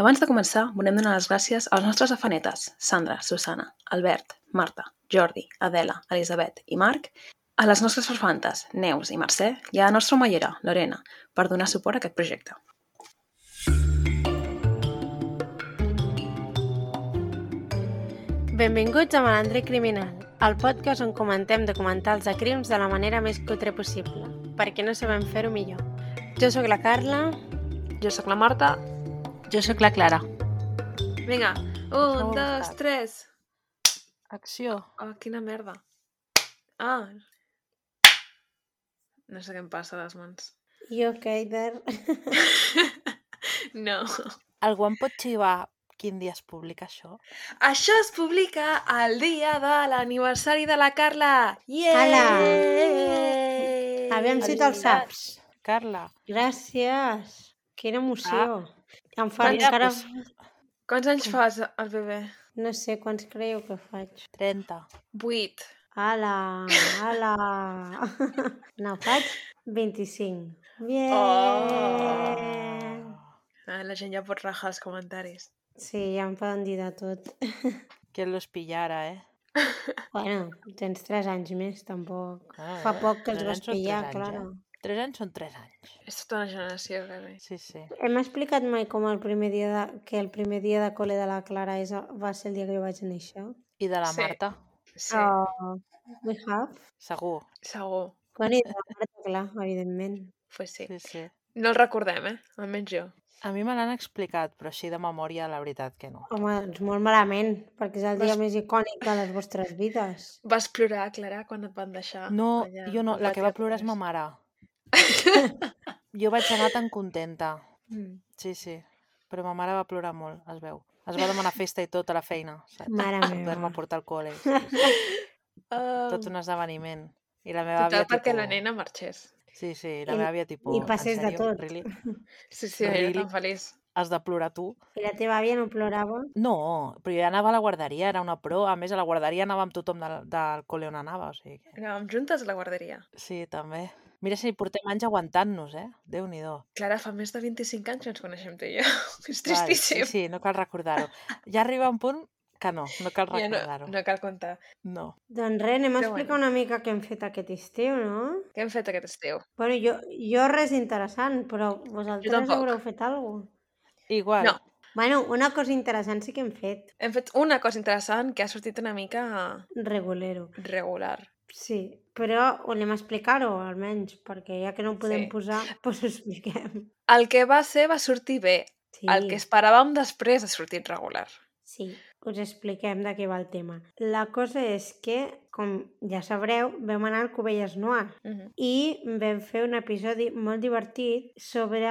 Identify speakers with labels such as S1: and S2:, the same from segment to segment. S1: Abans de començar, volem donar les gràcies als nostres afanetes, Sandra, Susana, Albert, Marta, Jordi, Adela, Elisabet i Marc, a les nostres farfantes, Neus i Mercè, i a la nostra mallera, Lorena, per donar suport a aquest projecte.
S2: Benvinguts a Malandre Criminal, el podcast on comentem documentals de crims de la manera més cutre possible, perquè no sabem fer-ho millor. Jo sóc la Carla.
S1: Jo sóc la Marta.
S3: Jo sóc la Clara.
S1: Vinga,
S3: Sou
S1: un, dos,
S3: tard.
S1: tres.
S3: Acció.
S1: Oh, quina merda. Ah. No sé què em passa a les mans.
S2: Jo, Kaider.
S1: No.
S3: Algú em pot xivar quin dia es publica això?
S1: Això es publica el dia de l'aniversari de la Carla.
S2: Hala.
S1: Yeah!
S2: Aviam si te'l saps.
S3: Ah, Carla,
S2: Gràcies. Quina emoció. Em fa
S1: Mira,
S2: encara...
S3: doncs-
S1: Quants anys fas, el bebè?
S2: No sé quants creieu que faig.
S3: 30.
S1: Vuit.
S2: Ala, ala. No, faig 25. Bien. Eh.
S1: Oh. Ah, La gent ja pot rajar els comentaris.
S2: Sí, ja em poden dir de tot.
S3: Que los pillara, eh?
S2: Bueno, tens 3 anys més, tampoc.
S3: Ah,
S2: Fa poc que els
S3: tres
S2: vas
S3: anys són tres
S2: pillar,
S3: anys,
S2: Clara.
S3: Eh? 3 anys són 3 anys.
S1: És tota una generació, gairebé.
S3: Sí, sí.
S2: Hem explicat mai com el primer dia de, que el primer dia de col·le de la Clara és, el- va ser el dia que jo vaig néixer?
S3: I de la
S1: Sí.
S3: Marta,
S1: Sí,
S3: Ah.
S2: Oh, we have.
S3: segur.
S1: segur.
S2: Bueno, i de la Marta, clar, evidentment.
S1: Pues sí.
S3: Sí, sí.
S1: No el recordem, eh? Almenys jo.
S3: A mi me l'han explicat, però així de memòria, la veritat que no.
S2: Home, doncs molt malament, perquè és el dia
S1: Vas-
S2: més icònic de les vostres vides.
S1: Vas plorar, Clara, quan et van deixar
S3: No,
S1: Ah, allà
S3: jo no,
S1: al
S3: la que
S1: pati
S3: va
S1: de
S3: plorar és ma
S1: Congrés?
S3: mare. Jo vaig anar tan contenta.
S1: Mm.
S3: Sí, sí. Però ma mare va plorar molt, es veu. Es va demanar festa i tot a la feina, saps?
S2: Mare
S3: Per
S2: meva.
S3: poder-me portar al col·le.
S1: Oh,
S3: Tot un esdeveniment. I la meva
S1: Um, total
S3: àvia,
S1: perquè
S3: tipus...
S1: la nena marxés.
S3: Sí, sí, i la
S2: I-
S3: meva àvia, tipus... "En
S2: passés de
S3: sèrio?
S2: tot."
S3: Really?
S1: Sí, sí, era
S3: Really?
S1: tan feliç.
S3: Has de plorar tu?
S2: I la teva àvia no plorava?
S3: No, però jo anava a la guarderia, era una pro. A més, a la guarderia anava amb tothom del, del col·le on anava, o sigui que...
S1: Anàvem juntes a la guarderia.
S3: Sí, també. Mira si portem anys aguantant-nos, eh? Déu-n'hi-do.
S1: Clara, fa més de 25 anys que ens coneixem tu i jo. És
S3: Val,
S1: tristíssim.
S3: Sí, sí, no cal recordar-ho. Ja arriba un punt que no, no cal
S1: Ja no,
S3: recordar-ho.
S1: no cal comptar.
S3: no.
S2: Doncs res, anem a
S1: Però
S2: explicar
S1: bueno.
S2: una mica què hem fet aquest estiu, no?
S1: Què hem fet aquest estiu?
S2: Bueno, jo, jo res interessant, però vosaltres
S1: tampoc.
S2: haureu fet alguna cosa.
S3: Igual.
S1: No.
S2: Bueno, una cosa interessant sí que hem fet.
S1: Hem fet una cosa interessant que ha sortit una mica
S2: Regulero.
S1: regular.
S2: Sí, però volem explicar-ho almenys, perquè ja que no ho podem
S1: Sí.
S2: posar, doncs ho expliquem.
S1: El que va ser va sortir bé.
S2: Sí,
S1: El que esperàvem després ha sortit regular.
S2: sí, us expliquem de què va el tema. La cosa és que, com ja sabreu, vam anar al Covelles Noir
S1: Mhm.
S2: i vam fer un episodi molt divertit sobre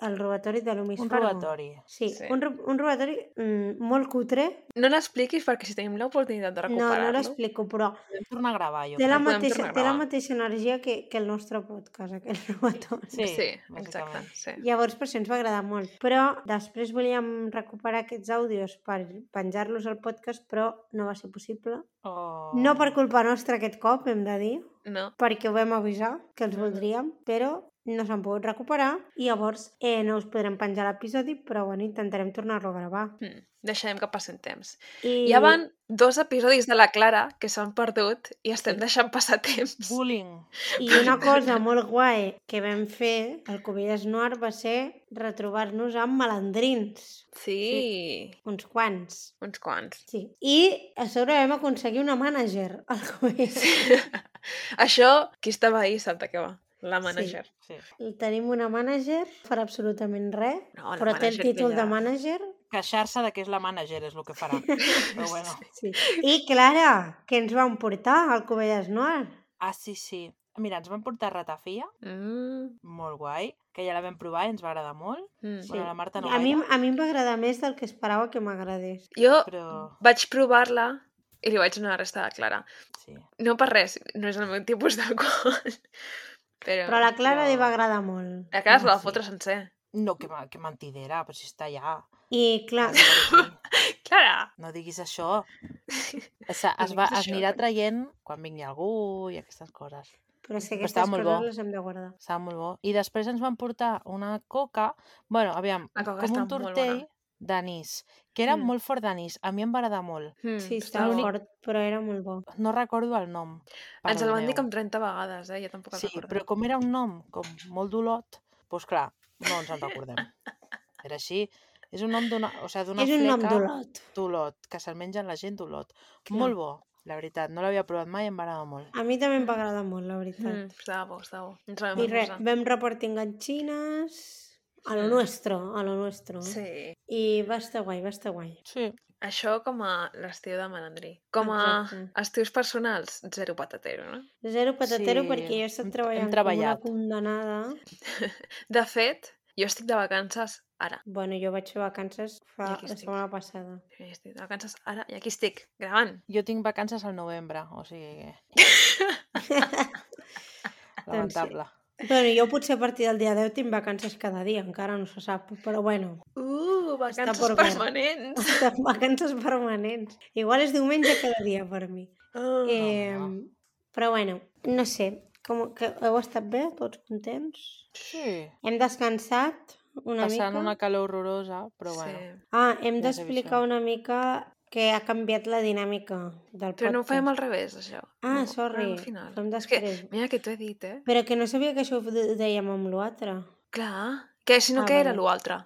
S2: el robatori de l'Homis
S3: Un
S2: Fargo.
S3: robatori.
S2: Sí,
S1: Sí.
S2: sí. Un, ro- un robatori mm, molt cutre.
S1: No l'expliquis perquè si tenim l'oportunitat de
S2: No, no
S1: recuperar-lo...
S2: l'explico, però
S3: Podem tornar a gravar, jo.
S2: té la,
S1: ho podem
S2: mateixa,
S1: tornar a
S2: té la
S1: gravar.
S2: mateixa energia que, que el nostre podcast, aquest robatori.
S3: Sí,
S1: sí exacte.
S3: bàsicament.
S1: Sí.
S2: Llavors, per això ens va agradar molt. Però després volíem recuperar aquests àudios per penjar-los al podcast, però no va ser possible.
S3: Oh.
S2: No per culpa nostra aquest cop, hem de dir,
S1: No.
S2: perquè ho vam avisar que els voldríem, però no s'han pogut recuperar i llavors eh, no us podrem penjar l'episodi, però bueno, intentarem tornar-lo a gravar.
S1: Mm. Deixarem que passin temps.
S2: I...
S1: Ja van dos episodis de la Clara que s'han perdut i estem deixant passar temps.
S3: Bullying.
S2: I una cosa molt guai que vam fer al Covelles Noir va ser retrobar-nos amb malandrins,
S1: Sí,
S2: uns quants.
S1: uns quants.
S2: Sí. I a sobre vam aconseguir una mànager al Covelles.
S1: Això, qui estava ahir sap de què va. La manager.
S3: Sí.
S2: Tenim una mànager, farà absolutament res,
S1: No, la
S2: però té el
S1: mànager
S2: títol
S1: que
S2: de
S1: ja-
S2: mànager.
S3: Queixar-se de que és la manager és el que farà. Però bueno.
S2: Sí. I Clara, que ens van portar al Covelles Noir.
S3: Ah, sí, sí. Mira, ens van portar ratafia,
S1: Mm,
S3: molt guai, que ja la vam provar i ens va agradar molt.
S1: mm.
S3: Sí. Bueno, la Marta no
S2: a, mi,
S3: gaire,
S2: a mi em va agradar més del que esperava que m'agradés.
S1: Jo
S3: però
S1: vaig provar-la i li vaig donar la resta de Clara.
S3: sí.
S1: No per res, no és el meu tipus d'alcohol. Però, Eh.
S2: Però a la Clara
S3: jo-
S2: li va agradar molt.
S1: la Clara se la va
S3: Sí.
S1: fotre sencer.
S3: No, que, ma- que mentidera, però si està allà.
S2: I
S1: Ah.
S2: clar,
S1: Clara!
S3: No diguis això. Es, es, va,
S1: diguis
S3: es
S1: això,
S3: anirà
S1: perquè-
S3: traient quan vingui algú i aquestes coses.
S2: però és que
S3: Però estava
S2: aquestes
S3: molt
S2: coses
S3: bo.
S2: les hem de guardar.
S3: Estava molt bo. I després ens van portar una coca, bueno, aviam,
S1: La coca
S3: com
S1: està
S3: un
S1: molt bona.
S3: tortell, d'anís, que era
S2: Mm.
S3: molt fort d'anís. A mi em va agradar molt.
S2: Mm,
S1: Sí,
S2: estava
S1: estava-
S2: fort, però era molt bo.
S3: No recordo el nom.
S1: Ens el
S3: perdoneu.
S1: van dir com 30 vegades, eh? Jo tampoc el
S3: Sí,
S1: recordo.
S3: però com era un nom com molt d'olot, doncs clar, no ens en recordem. Era així. És un nom d'una o sigui, d'una
S2: És un nom
S3: fleca
S2: d'olot.
S3: d'olot, que se'l mengen la gent d'olot. Molt bo, la veritat. No l'havia provat mai i em va agradar molt.
S2: A mi també em va agradar molt, la veritat.
S1: Mm, estava bo, estava bo. Ens la vam
S2: I res,
S1: posar.
S2: vam repartir enganxines, a lo
S1: Mm.
S2: nuestro, a lo nuestro. eh?
S1: Sí.
S2: I va estar guai, va estar guai.
S3: Sí.
S1: Això com a l'estiu de Malandrí. Com a
S2: Exacte. estius
S1: estius personals, zero patatero, no?
S2: Zero patatero
S3: Sí,
S2: perquè jo he estat
S3: hem- hem
S2: treballant com una
S3: treballat.
S2: condenada.
S1: De fet, jo estic de vacances ara.
S2: Bueno, jo vaig fer vacances
S1: I
S2: fa
S1: aquí
S2: la
S1: estic.
S2: setmana passada.
S1: Jo estic de vacances ara i aquí estic, gravant.
S3: Jo tinc vacances al novembre, o sigui que... Lamentable.
S2: Bueno, jo potser a partir del dia 10 tinc vacances cada dia, encara no se sap, però bueno,
S1: Uh, vacances
S2: por ver.
S1: permanents!
S2: estan vacances permanents. Igual és diumenge cada dia per mi.
S1: Ah.
S2: Eh,
S3: home.
S2: però bueno, no sé, com que heu estat bé, tots contents?
S3: Sí.
S2: Hem descansat una
S3: Passant
S2: mica?
S3: una calor horrorosa, però bueno.
S2: Ah, hem
S3: Ja s'ha vist,
S2: d'explicar
S3: eh?
S2: una mica que ha canviat la dinàmica del podcast.
S1: Però no ho fèiem al revés, això.
S2: Ah,
S1: no,
S2: sorry,
S1: Al final.
S2: fem
S1: És que,
S2: després.
S1: mira que t'ho he dit, eh?
S2: Però que no sabia que això ho de- dèiem amb l'altre.
S1: Clar, que si no,
S2: Ah,
S1: què era
S2: vale.
S1: l'altre?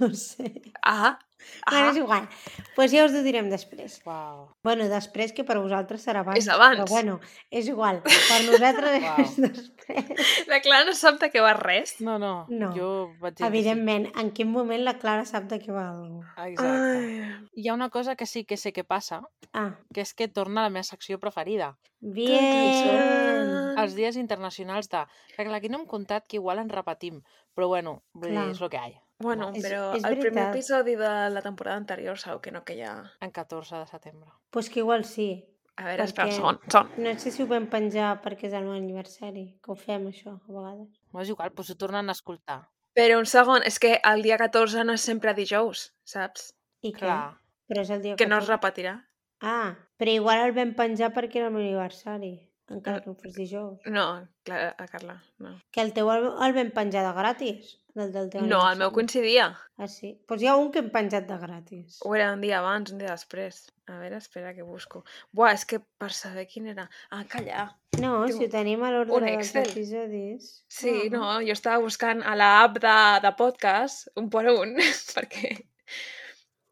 S2: No sé.
S1: Ah,
S2: Ah. Bueno,
S1: ah,
S2: és igual. Doncs pues ja us ho direm després.
S3: Uau.
S2: Bueno, després, que per vosaltres serà abans.
S1: És abans.
S2: Però bueno, és igual. Per nosaltres
S3: Uau.
S2: és després.
S1: la Clara no sap de què va res.
S3: No, no,
S2: No.
S3: jo vaig dir... que sí.
S2: Evidentment, en quin moment la Clara sap de què va algú.
S3: Exacte. Hi ha una cosa que sí que sé que passa,
S2: Ah,
S3: que és que torna la meva secció preferida.
S2: bien.
S3: Els dies internacionals de... Perquè clar, aquí no hem contat que igual en repetim, però bueno, vull dir,
S2: Clar.
S3: és el que hi ha.
S1: Bueno,
S2: És-
S1: però
S2: és
S1: el primer
S2: veritat.
S1: episodi de la temporada anterior sabeu que no, que ja...
S3: En 14 de setembre.
S2: pues que igual sí.
S1: A veure,
S2: Per
S1: espera,
S2: què?
S1: un segon, un segon.
S2: No sé si ho vam penjar perquè és el meu aniversari, que ho fem això, a vegades.
S3: No és igual, doncs ho tornen a escoltar.
S1: Però un segon, és que el dia 14 no és sempre dijous, saps?
S2: I
S3: Clar.
S2: què? Però és el dia
S1: Que no es
S2: 14.
S1: repetirà.
S2: Ah, però igual el vam penjar perquè era el meu aniversari,
S1: Eh,
S2: encara que no fos dijous.
S1: No, Clara, Carla, no.
S2: Que el teu el, el vam penjar de gratis, del del teu
S1: No, el meu
S2: aniversari.
S1: coincidia.
S2: Ah, sí? Doncs pues hi ha un que hem penjat de gratis.
S1: O era un dia abans, un dia després. A veure, espera que busco. Buah, és que per saber quin era... Ah, calla.
S2: No,
S1: Tinc
S2: si ho tenim a
S1: un
S2: l'ordre dels
S1: Excel.
S2: episodis...
S1: Sí,
S2: Ah.
S1: no, jo estava buscant a la app de, de podcast, un per un, perquè...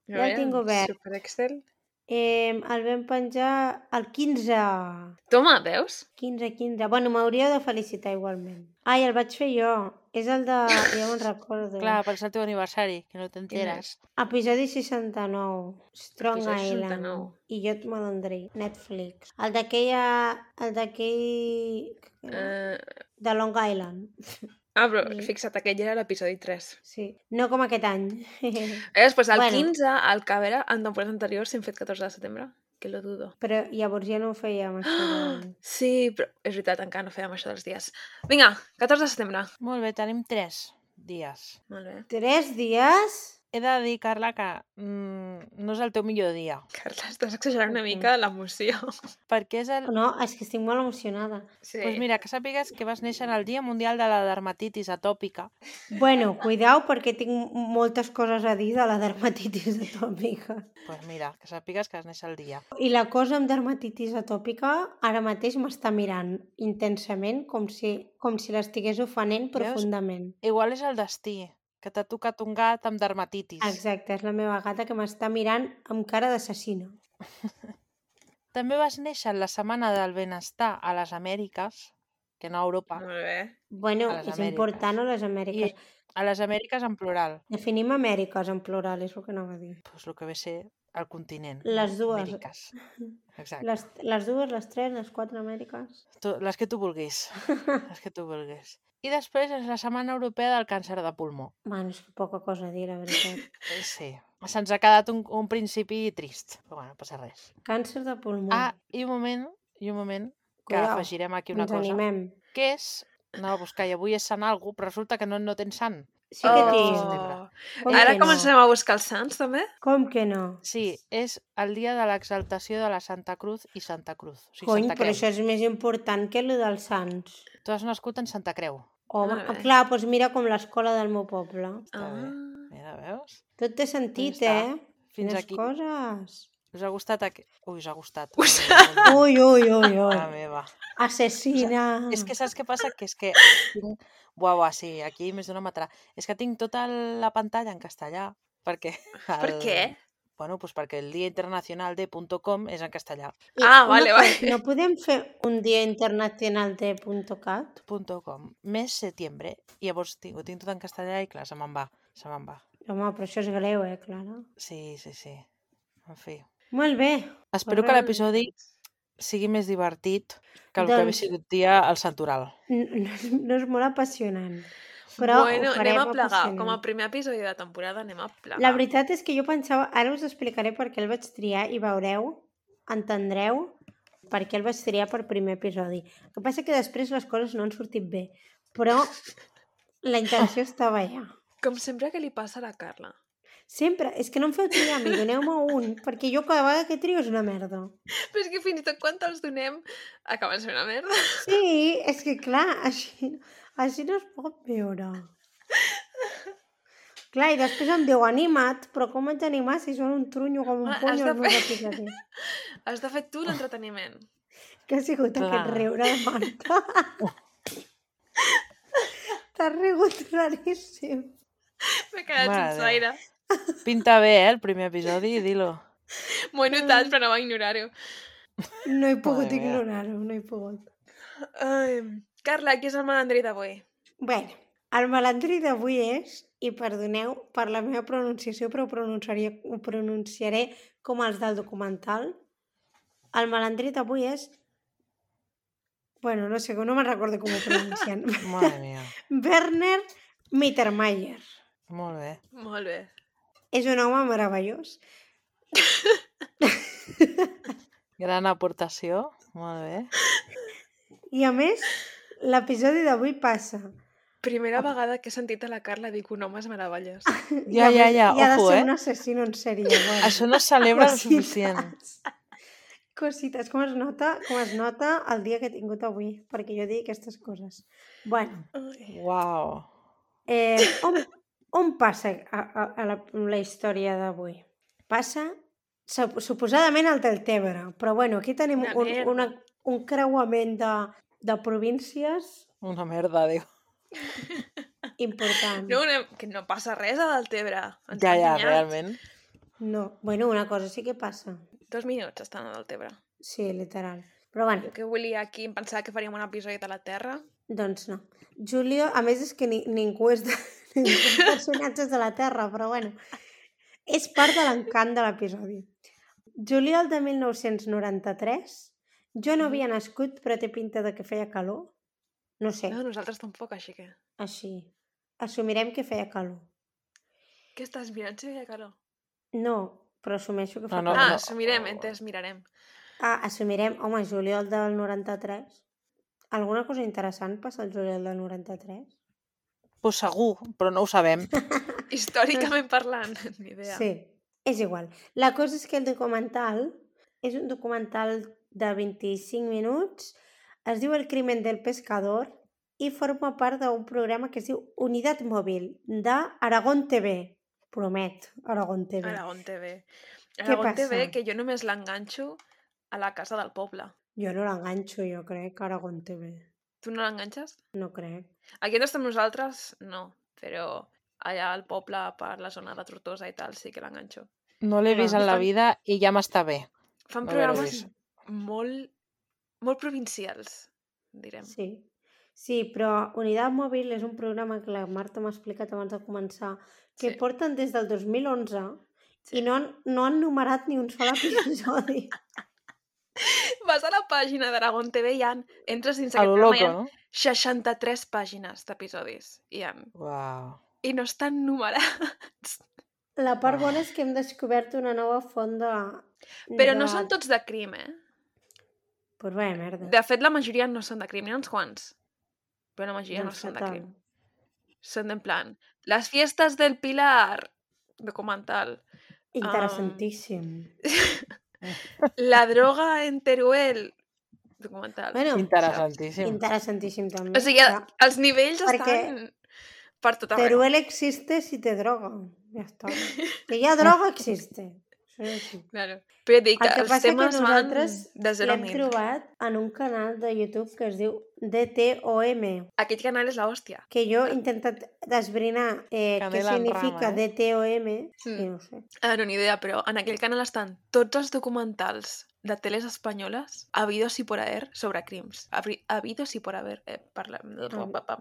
S2: Ja el tinc obert.
S1: Super Excel.
S2: Eh, el vam penjar el 15.
S1: Toma, veus?
S2: 15, 15. Bueno, m'hauríeu de felicitar igualment. Ai, el vaig fer jo. És el de... Ja me'n recordo.
S3: Clar, perquè és el teu aniversari, que no t'enteres.
S2: Episodi 69. Strong
S1: Episodi
S2: Island.
S1: 69.
S2: I jo et malandré. Netflix. El d'aquella... El d'aquell...
S1: Eh,
S2: De Long Island.
S1: ah, però
S2: Sí.
S1: fixa't, aquell era l'episodi 3.
S2: Sí. No com aquest any.
S1: Eh, després, el
S2: Bueno.
S1: bueno. 15, el que era en temporada anterior, si hem fet 14 de setembre, que lo dudo. Ah,
S2: Però llavors ja no ho fèiem, això. de-
S1: Sí, però és veritat, encara no fèiem això dels dies. Vinga, 14 de setembre.
S3: Molt bé, tenim 3 dies.
S1: Molt bé.
S2: Tres dies?
S3: He de dir, Carla, que mm, no és el teu millor dia,
S1: Carla, estàs exagerant una
S2: Ok.
S1: mica l'emoció.
S3: perquè és el...
S2: No, és que estic molt emocionada.
S1: Sí.
S3: Doncs mira, que sàpigues que vas néixer en el Dia Mundial de la Dermatitis Atòpica.
S2: Bueno, cuidao perquè tinc moltes coses a dir de la dermatitis atòpica.
S3: Doncs mira, que sàpigues que vas néixer el dia.
S2: I la cosa amb dermatitis atòpica ara mateix m'està mirant intensament com si, com si l'estigués ofenent profundament.
S3: Igual és el destí, que t'ha tocat un gat amb dermatitis.
S2: Exacte, és la meva gata que m'està mirant amb cara d'assassina.
S3: També vas néixer en la Setmana del Benestar a les Amèriques, que no a Europa.
S1: Molt bé.
S2: Bueno,
S3: A les
S2: és
S3: Amèriques.
S2: important a les Amèriques. I...
S3: A les Amèriques en plural.
S2: Definim Amèriques en plural, és el que anava a dir.
S3: Doncs el que ve a ser el continent.
S2: Les dues.
S3: Amèriques. Exacte.
S2: Les, les dues, les tres, les quatre Amèriques.
S3: Tu, les que tu vulguis. les que tu vulguis. I després és la Setmana Europea del Càncer de Pulmó.
S2: Bueno, és poca cosa a dir, la veritat.
S3: Eh, Sí.
S2: Ah.
S3: Se'ns ha quedat un, un principi trist. Però bueno, no passa res.
S2: Càncer de pulmó.
S3: Ah, i un moment, i un moment, que
S2: Cuidao,
S3: afegirem aquí una
S2: ens
S3: cosa.
S2: animem.
S3: Que és... Anava a buscar, i avui és sant algú, però resulta que no, no tens sant.
S2: Sí que
S3: Oh.
S2: tinc. Com
S1: Ara
S2: que no?
S1: comencem a buscar els sants, també?
S2: Com que no?
S3: Sí, és el dia de l'exaltació de la Santa Cruz i Santa Cruz. O sigui,
S2: Cony,
S3: Santa
S2: però
S3: Creu.
S2: això és més important que el dels sants.
S3: Tu has nascut en Santa Creu.
S2: Home,
S1: Molt bé.
S2: clar, doncs mira com l'escola del meu poble.
S3: Està bé. Mira, veus?
S2: Tot té sentit,
S3: Doncs està.
S2: eh?
S3: Fins
S2: Quines
S3: aquí.
S2: coses.
S3: Us ha gustat aquest... Ui, us ha gustat.
S1: Us-
S2: Ui, ui, ui, ui.
S3: La meva.
S2: Assassina.
S3: És que saps què passa? Que és que... Tinc... Buah, buah, sí, aquí més d'una matarà. És que tinc tota la pantalla en castellà, perquè... El...
S1: Ah. Per què?
S3: Bueno, pues perquè el dia internacional de .com és en castellà.
S2: I
S1: Ah,
S2: una
S1: vale,
S2: cosa,
S1: vale.
S2: No podem fer un dia internacional de .cat?
S3: .com, mes setembre. I llavors tinc, ho tinc tot en castellà i clar, se me'n va, se me'n va.
S2: Home, però això és greu, eh, Clara?
S3: Sí, sí, sí. En fi.
S2: Molt bé.
S3: Espero que
S2: Arran.
S3: l'episodi sigui més divertit que el que havia
S2: Doncs-
S3: sigut dia al Santoral.
S2: N- No, és- no és molt apassionant. Però ho
S1: bueno,
S2: farem
S1: anem a plegar.
S2: apassionant.
S1: Com a primer episodi de temporada anem a plegar.
S2: La veritat és que jo pensava... Ara us explicaré per què el vaig triar i veureu, entendreu per què el vaig triar per primer episodi. El que passa que després les coses no han sortit bé, però la intenció estava allà.
S1: Com sempre que li passa a la Carla.
S2: Sempre, és que no em feu triar, mi, doneu-me un, perquè jo cada vegada que trio és una merda.
S1: Però és que fins i tot quan te'ls donem acaben sent una merda.
S2: Sí, és que clar, així, així no es pot viure. Clar, i després em diu animat, però com ets animat si són un trunyo com un
S1: Home, has
S2: punyo
S1: de
S2: els meus
S1: fer-
S2: episodis?
S1: Has de fer
S2: Oh.
S1: tu l'entreteniment.
S2: Que ha sigut clar. aquest
S3: Clar.
S2: riure de Marta? T'has rigut raríssim.
S1: M'he quedat
S3: Mare
S1: sense
S3: de
S1: aire.
S3: Pinta bé, eh, el primer episodi, dilo.
S1: M'ho he notat, però no va ignorar-ho.
S2: No he pogut
S3: Madre mía.
S2: ignorar-ho, no he pogut.
S1: Ai, Carla, qui és el malandrí d'avui?
S2: Bé, el malandrí d'avui és, i perdoneu per la meva pronunciació, però ho pronunciaré, ho pronunciaré com els del documental, el malandrí d'avui és... Bueno, no sé, no me'n recordo com ho pronuncien.
S3: Mare mia,
S2: Werner Mittermeier.
S3: molt bé.
S1: Molt bé.
S2: És un home meravellós.
S3: Gran aportació, molt bé.
S2: I a més, l'episodi d'avui passa.
S1: Primera vegada que he sentit a la Carla dir que un home és meravellós.
S2: I
S3: Ja,
S2: a
S3: ja,
S2: més,
S3: ja,
S2: I ha de
S3: ojo,
S2: ser
S3: eh?
S2: un assassino en sèrie. Bueno.
S3: Això no es celebra el
S2: Cositas.
S3: suficient.
S2: Cositas, com es nota, com es nota el dia que he tingut avui, perquè jo dic aquestes coses. Bueno,
S1: Ai.
S3: Uau.
S2: eh, on, on passa a, a, a la, la història d'avui? Passa sup- suposadament al Deltebre, però bueno, aquí tenim
S1: Una
S2: un,
S1: merda.
S2: una, un creuament de, de províncies
S3: Una merda, diu.
S2: important.
S1: No, no, que no passa res a Deltebre. Ens
S3: Ja,
S1: han
S3: ja,
S1: enganyat.
S3: realment.
S2: no, bueno, una cosa sí que passa.
S1: Dos minuts estan a Deltebre.
S2: Sí, literal. Però bueno,
S1: Jo que volia aquí, em pensava que faríem un episodi de la Terra.
S2: Doncs no. Julio, a més és que ni, ningú és de... ningú és personatges de la Terra, però bueno, és part de l'encant de l'episodi. Juliol de 1993, jo no havia nascut, però té pinta de que feia calor. No sé,
S3: Ah.
S1: No, nosaltres tampoc, així que...
S2: així. Assumirem que feia calor.
S1: Què estàs mirant si feia calor?
S2: No, però assumeixo que fa
S3: No, no,
S1: ah,
S2: calor.
S1: no. mirem, entès, mirarem.
S2: Ah, assumirem, home, juliol del 93. Alguna cosa interessant passa el juliol del 93?
S3: Pues segur, però no ho sabem.
S1: Històricament parlant, ni idea.
S2: Sí, és igual. La cosa és que el documental és un documental de 25 minuts, es diu El crimen del pescador i forma part d'un programa que es diu Unitat Mòbil d'Aragón TV. Promet, Aragón TV.
S1: Aragón TV. Aragón
S2: passa?
S1: TV, que jo només l'enganxo a la casa del poble.
S2: Jo no l'enganxo, jo crec, Aragón TV.
S1: Tu no l'enganxes?
S2: No crec.
S1: Aquí on estem nosaltres, no. Però allà al poble, per la zona de Tortosa i tal, sí que l'enganxo.
S3: No l'he
S2: Clar.
S3: vist en la
S1: Estan-
S3: vida i ja m'està bé.
S1: Fan
S3: No veure-ho
S1: programes molt, molt provincials, direm.
S2: Sí. Sí, però Unitat Mòbil és un programa que la Marta m'ha explicat abans de començar, que
S1: Sí.
S2: porten des del 2011
S1: Sí.
S2: i no han, no han numerat ni un sol episodi.
S1: Vas a la pàgina d'Aragón TV i hi ha, entres dins
S3: A
S1: d'aquest
S3: lo
S1: programa i hi ha
S3: loco, no?
S1: 63 pàgines d'episodis. Hi ha.
S3: Uau.
S1: I no estan numerats.
S2: La part
S3: Ah.
S2: bona és que hem descobert una nova font de...
S1: Però
S2: de...
S1: no són tots de crim, eh?
S2: Pues vaya merda.
S1: De fet, la majoria no són de crim. N'hi ha uns quants. Però la majoria no
S2: Doncs
S1: són de
S2: fatal.
S1: crim. Són en plan... Les fiestes del Pilar, documental.
S2: Interessantíssim.
S1: La droga en Teruel, documental.
S2: Bueno,
S3: Interessantíssim.
S2: interessantíssim també.
S1: o sigui,
S2: Clar,
S1: els nivells
S2: perquè
S1: estan per tota tot arreu.
S2: Teruel existe si té droga. Ya està. Que hi ha droga existe. Això és així.
S1: Claro. Però dic que
S2: El que
S1: els
S2: passa que
S1: temes van
S2: nosaltres
S1: de 0 a
S2: L'hem
S1: 1000.
S2: trobat en un canal de YouTube que es diu DTOM,
S1: Aquest canal és l'hòstia.
S2: que jo he intentat desbrinar eh, què
S3: Canela en
S2: significa
S3: rama, eh?
S2: DTOM
S1: Mm.
S2: i no ho sé.
S1: Ah, no, ni idea, però en aquell canal estan tots els documentals de teles espanyoles, habidos y por haber, sobre crims. Habri- Habidos y por haber. Eh, parla...
S2: Ah.
S1: pa, pa.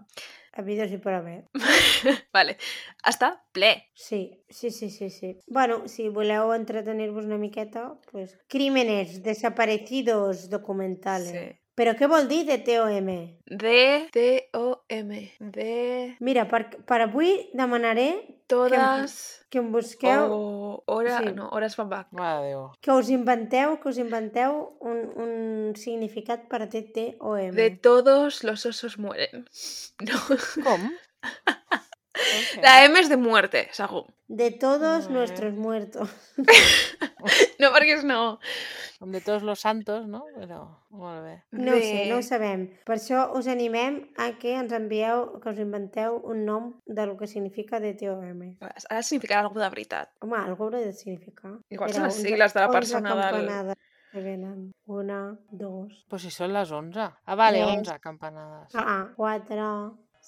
S2: A vídeos i per haver.
S1: Vale. Està ple.
S2: Sí, sí, sí, sí, sí. Bueno, si voleu entretenir-vos una miqueta, pues... Crímenes desaparecidos documentales. Sí.
S1: Sí.
S2: Però què vol dir de TOM?
S1: D, T, O, M. De
S2: Mira, per, per avui demanaré
S1: todas
S2: que em busqueu, oh.
S1: o hora...
S2: Sí.
S1: No, hores van back.
S3: Mare de Déu.
S2: que us inventeu, que us inventeu un, un significat per DTOM.
S1: De todos los osos mueren. No.
S3: Com?
S1: La M és de muerte, segur.
S2: De todos
S3: Vale.
S2: nuestros muertos.
S1: No perquè és no.
S3: Com de tots los santos, no? Però, molt bé.
S2: No ho sé,
S1: De-
S2: no ho sabem. Per això us animem a que ens envieu, que us inventeu un nom de lo que significa DTOM.
S1: Ha de significar alguna de veritat.
S2: Home, algú haurà de significar.
S1: Igual
S2: Era
S1: són les
S2: 11
S1: sigles de la
S2: 11
S1: persona del-
S2: campanades que venen. Una, dos,
S3: Pues si són les 11. Ah, vale,
S2: Yes.
S3: 11 campanades.
S2: ah, quatre,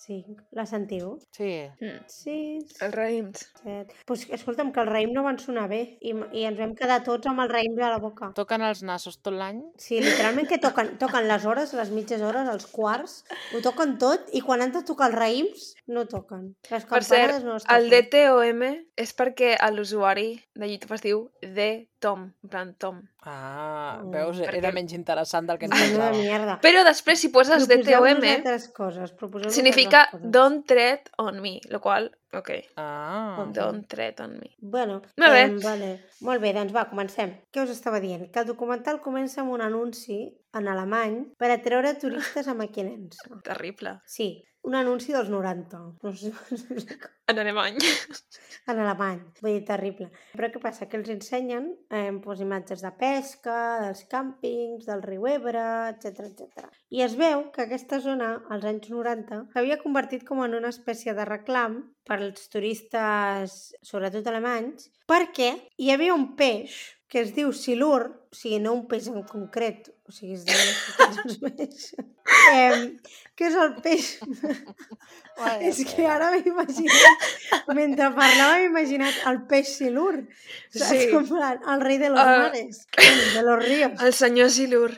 S2: cinc. La sentiu?
S3: Sí.
S1: Mm.
S2: Sis,
S1: Els raïms.
S2: set... Pues, escolta'm, que el raïm no van sonar bé i, i ens vam quedar tots amb el raïm de la boca.
S3: Toquen els nassos tot l'any.
S2: Sí, literalment que toquen, toquen les hores, les mitges hores, els quarts, ho toquen tot i quan han de tocar els raïms no toquen. Les
S1: Per
S2: campanades
S1: cert,
S2: no les toquen.
S1: el DTOM és perquè a l'usuari de YouTube es diu de Tom, en plan Tom.
S3: Ah,
S2: Mm,
S3: veus?
S1: perquè-
S3: Era menys interessant del que ens
S2: Menuda
S3: pensava.
S2: mierda.
S1: Però després, si poses
S2: Proposeu-nos
S1: DTOM,
S2: altres coses. proposeu-nos
S1: eh? significa
S2: altres coses.
S1: Don't Tread on Me, lo qual, ok,
S3: Ah,
S2: Doncs-
S1: Don't Tread on Me.
S2: Bueno,
S1: Molt bé.
S2: em, vale. Molt bé, doncs va, comencem. Què us estava dient? Que el documental comença amb un anunci en alemany per atreure turistes a Mequinensa.
S1: Terrible.
S2: Sí, un anunci dels 90. No sé, no sé com-
S1: En alemany.
S2: en alemany, vull dir, terrible. Però què passa? Que els ensenyen eh, doncs, imatges de pesca, dels càmpings, del riu Ebre, etc etc. I es veu que aquesta zona, als anys 90, s'havia convertit com en una espècie de reclam per als turistes, sobretot alemanys, perquè hi havia un peix que es diu silur, o sigui, no un peix en concret, o sigui, es diuen els peixos, eh, que és el peix
S3: vale,
S2: és que ara m'he imaginat, mentre parlava m'he imaginat el peix silur, saps?
S1: Sí.
S2: Com plan, el rei de los
S1: Ah.
S2: mares, de los ríos.
S1: El senyor Silur.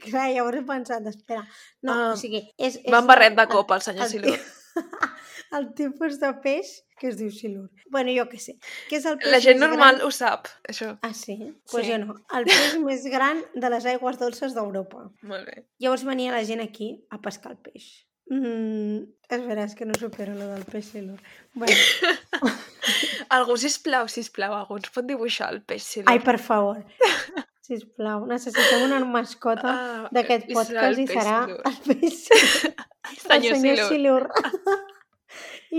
S2: Clar, llavors he pensat, espera, no,
S1: Ah.
S2: o sigui... És, és
S1: Va amb barret de copa, el
S2: el,
S1: senyor
S2: el,
S1: Silur.
S2: el tipus de peix que es diu silur. Bueno, jo què sé, que és el peix
S1: La gent
S2: més
S1: normal
S2: Gran...
S1: ho sap, això.
S2: Ah, sí? Doncs pues
S3: Sí.
S2: jo no. El peix més gran de les aigües dolces d'Europa.
S1: Molt bé.
S2: Llavors venia la gent aquí a pescar el peix. Mm, és vera, és que no supero lo del peix silur. Bueno,
S1: Algú, sisplau, sisplau, algú ens pot dibuixar el peix Silur?
S2: Ai, per favor. Sisplau, necessitem una mascota
S1: Ah,
S2: d'aquest
S1: i serà
S2: podcast
S1: el
S2: i
S1: peix
S2: serà
S1: Silur.
S2: el peix Silur.
S1: Senyor Silur.
S2: Silur.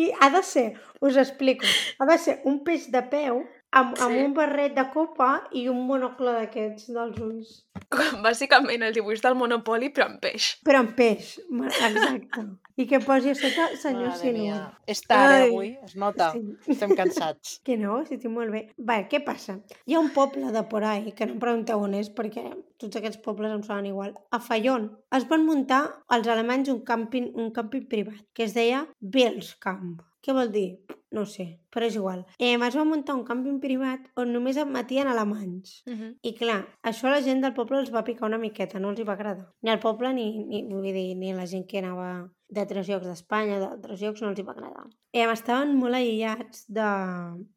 S2: I ha de ser, us explico, ha de ser un peix de peu amb, amb
S1: Sí.
S2: un barret de copa i un monocle d'aquests dels ulls.
S1: Bàsicament el dibuix del Monopoli, però amb peix.
S2: Però amb peix, ma- exacte. I que posi a sota senyor
S3: Mare
S2: Silur.
S3: mia. És tard,
S1: Ai.
S3: eh, avui? Es nota.
S2: Sí.
S3: Estem cansats.
S2: Que no, si estic molt bé. Va, què passa? Hi ha un poble de por ahí, que no em pregunteu on és perquè tots aquests pobles em sonen igual. A Fallon es van muntar els alemanys un càmping, un càmping privat que es deia Belskamp. Què vol dir? No ho sé, però és igual. Eh, es va muntar un càmping privat on només admetien alemanys.
S1: Uh -huh.
S2: I clar, això a la gent del poble els va picar una miqueta, no els hi va agradar. Ni al poble ni, ni, vull dir, ni la gent que anava d'altres llocs d'Espanya, d'altres llocs, no els hi va agradar. Eh, estaven molt aïllats de,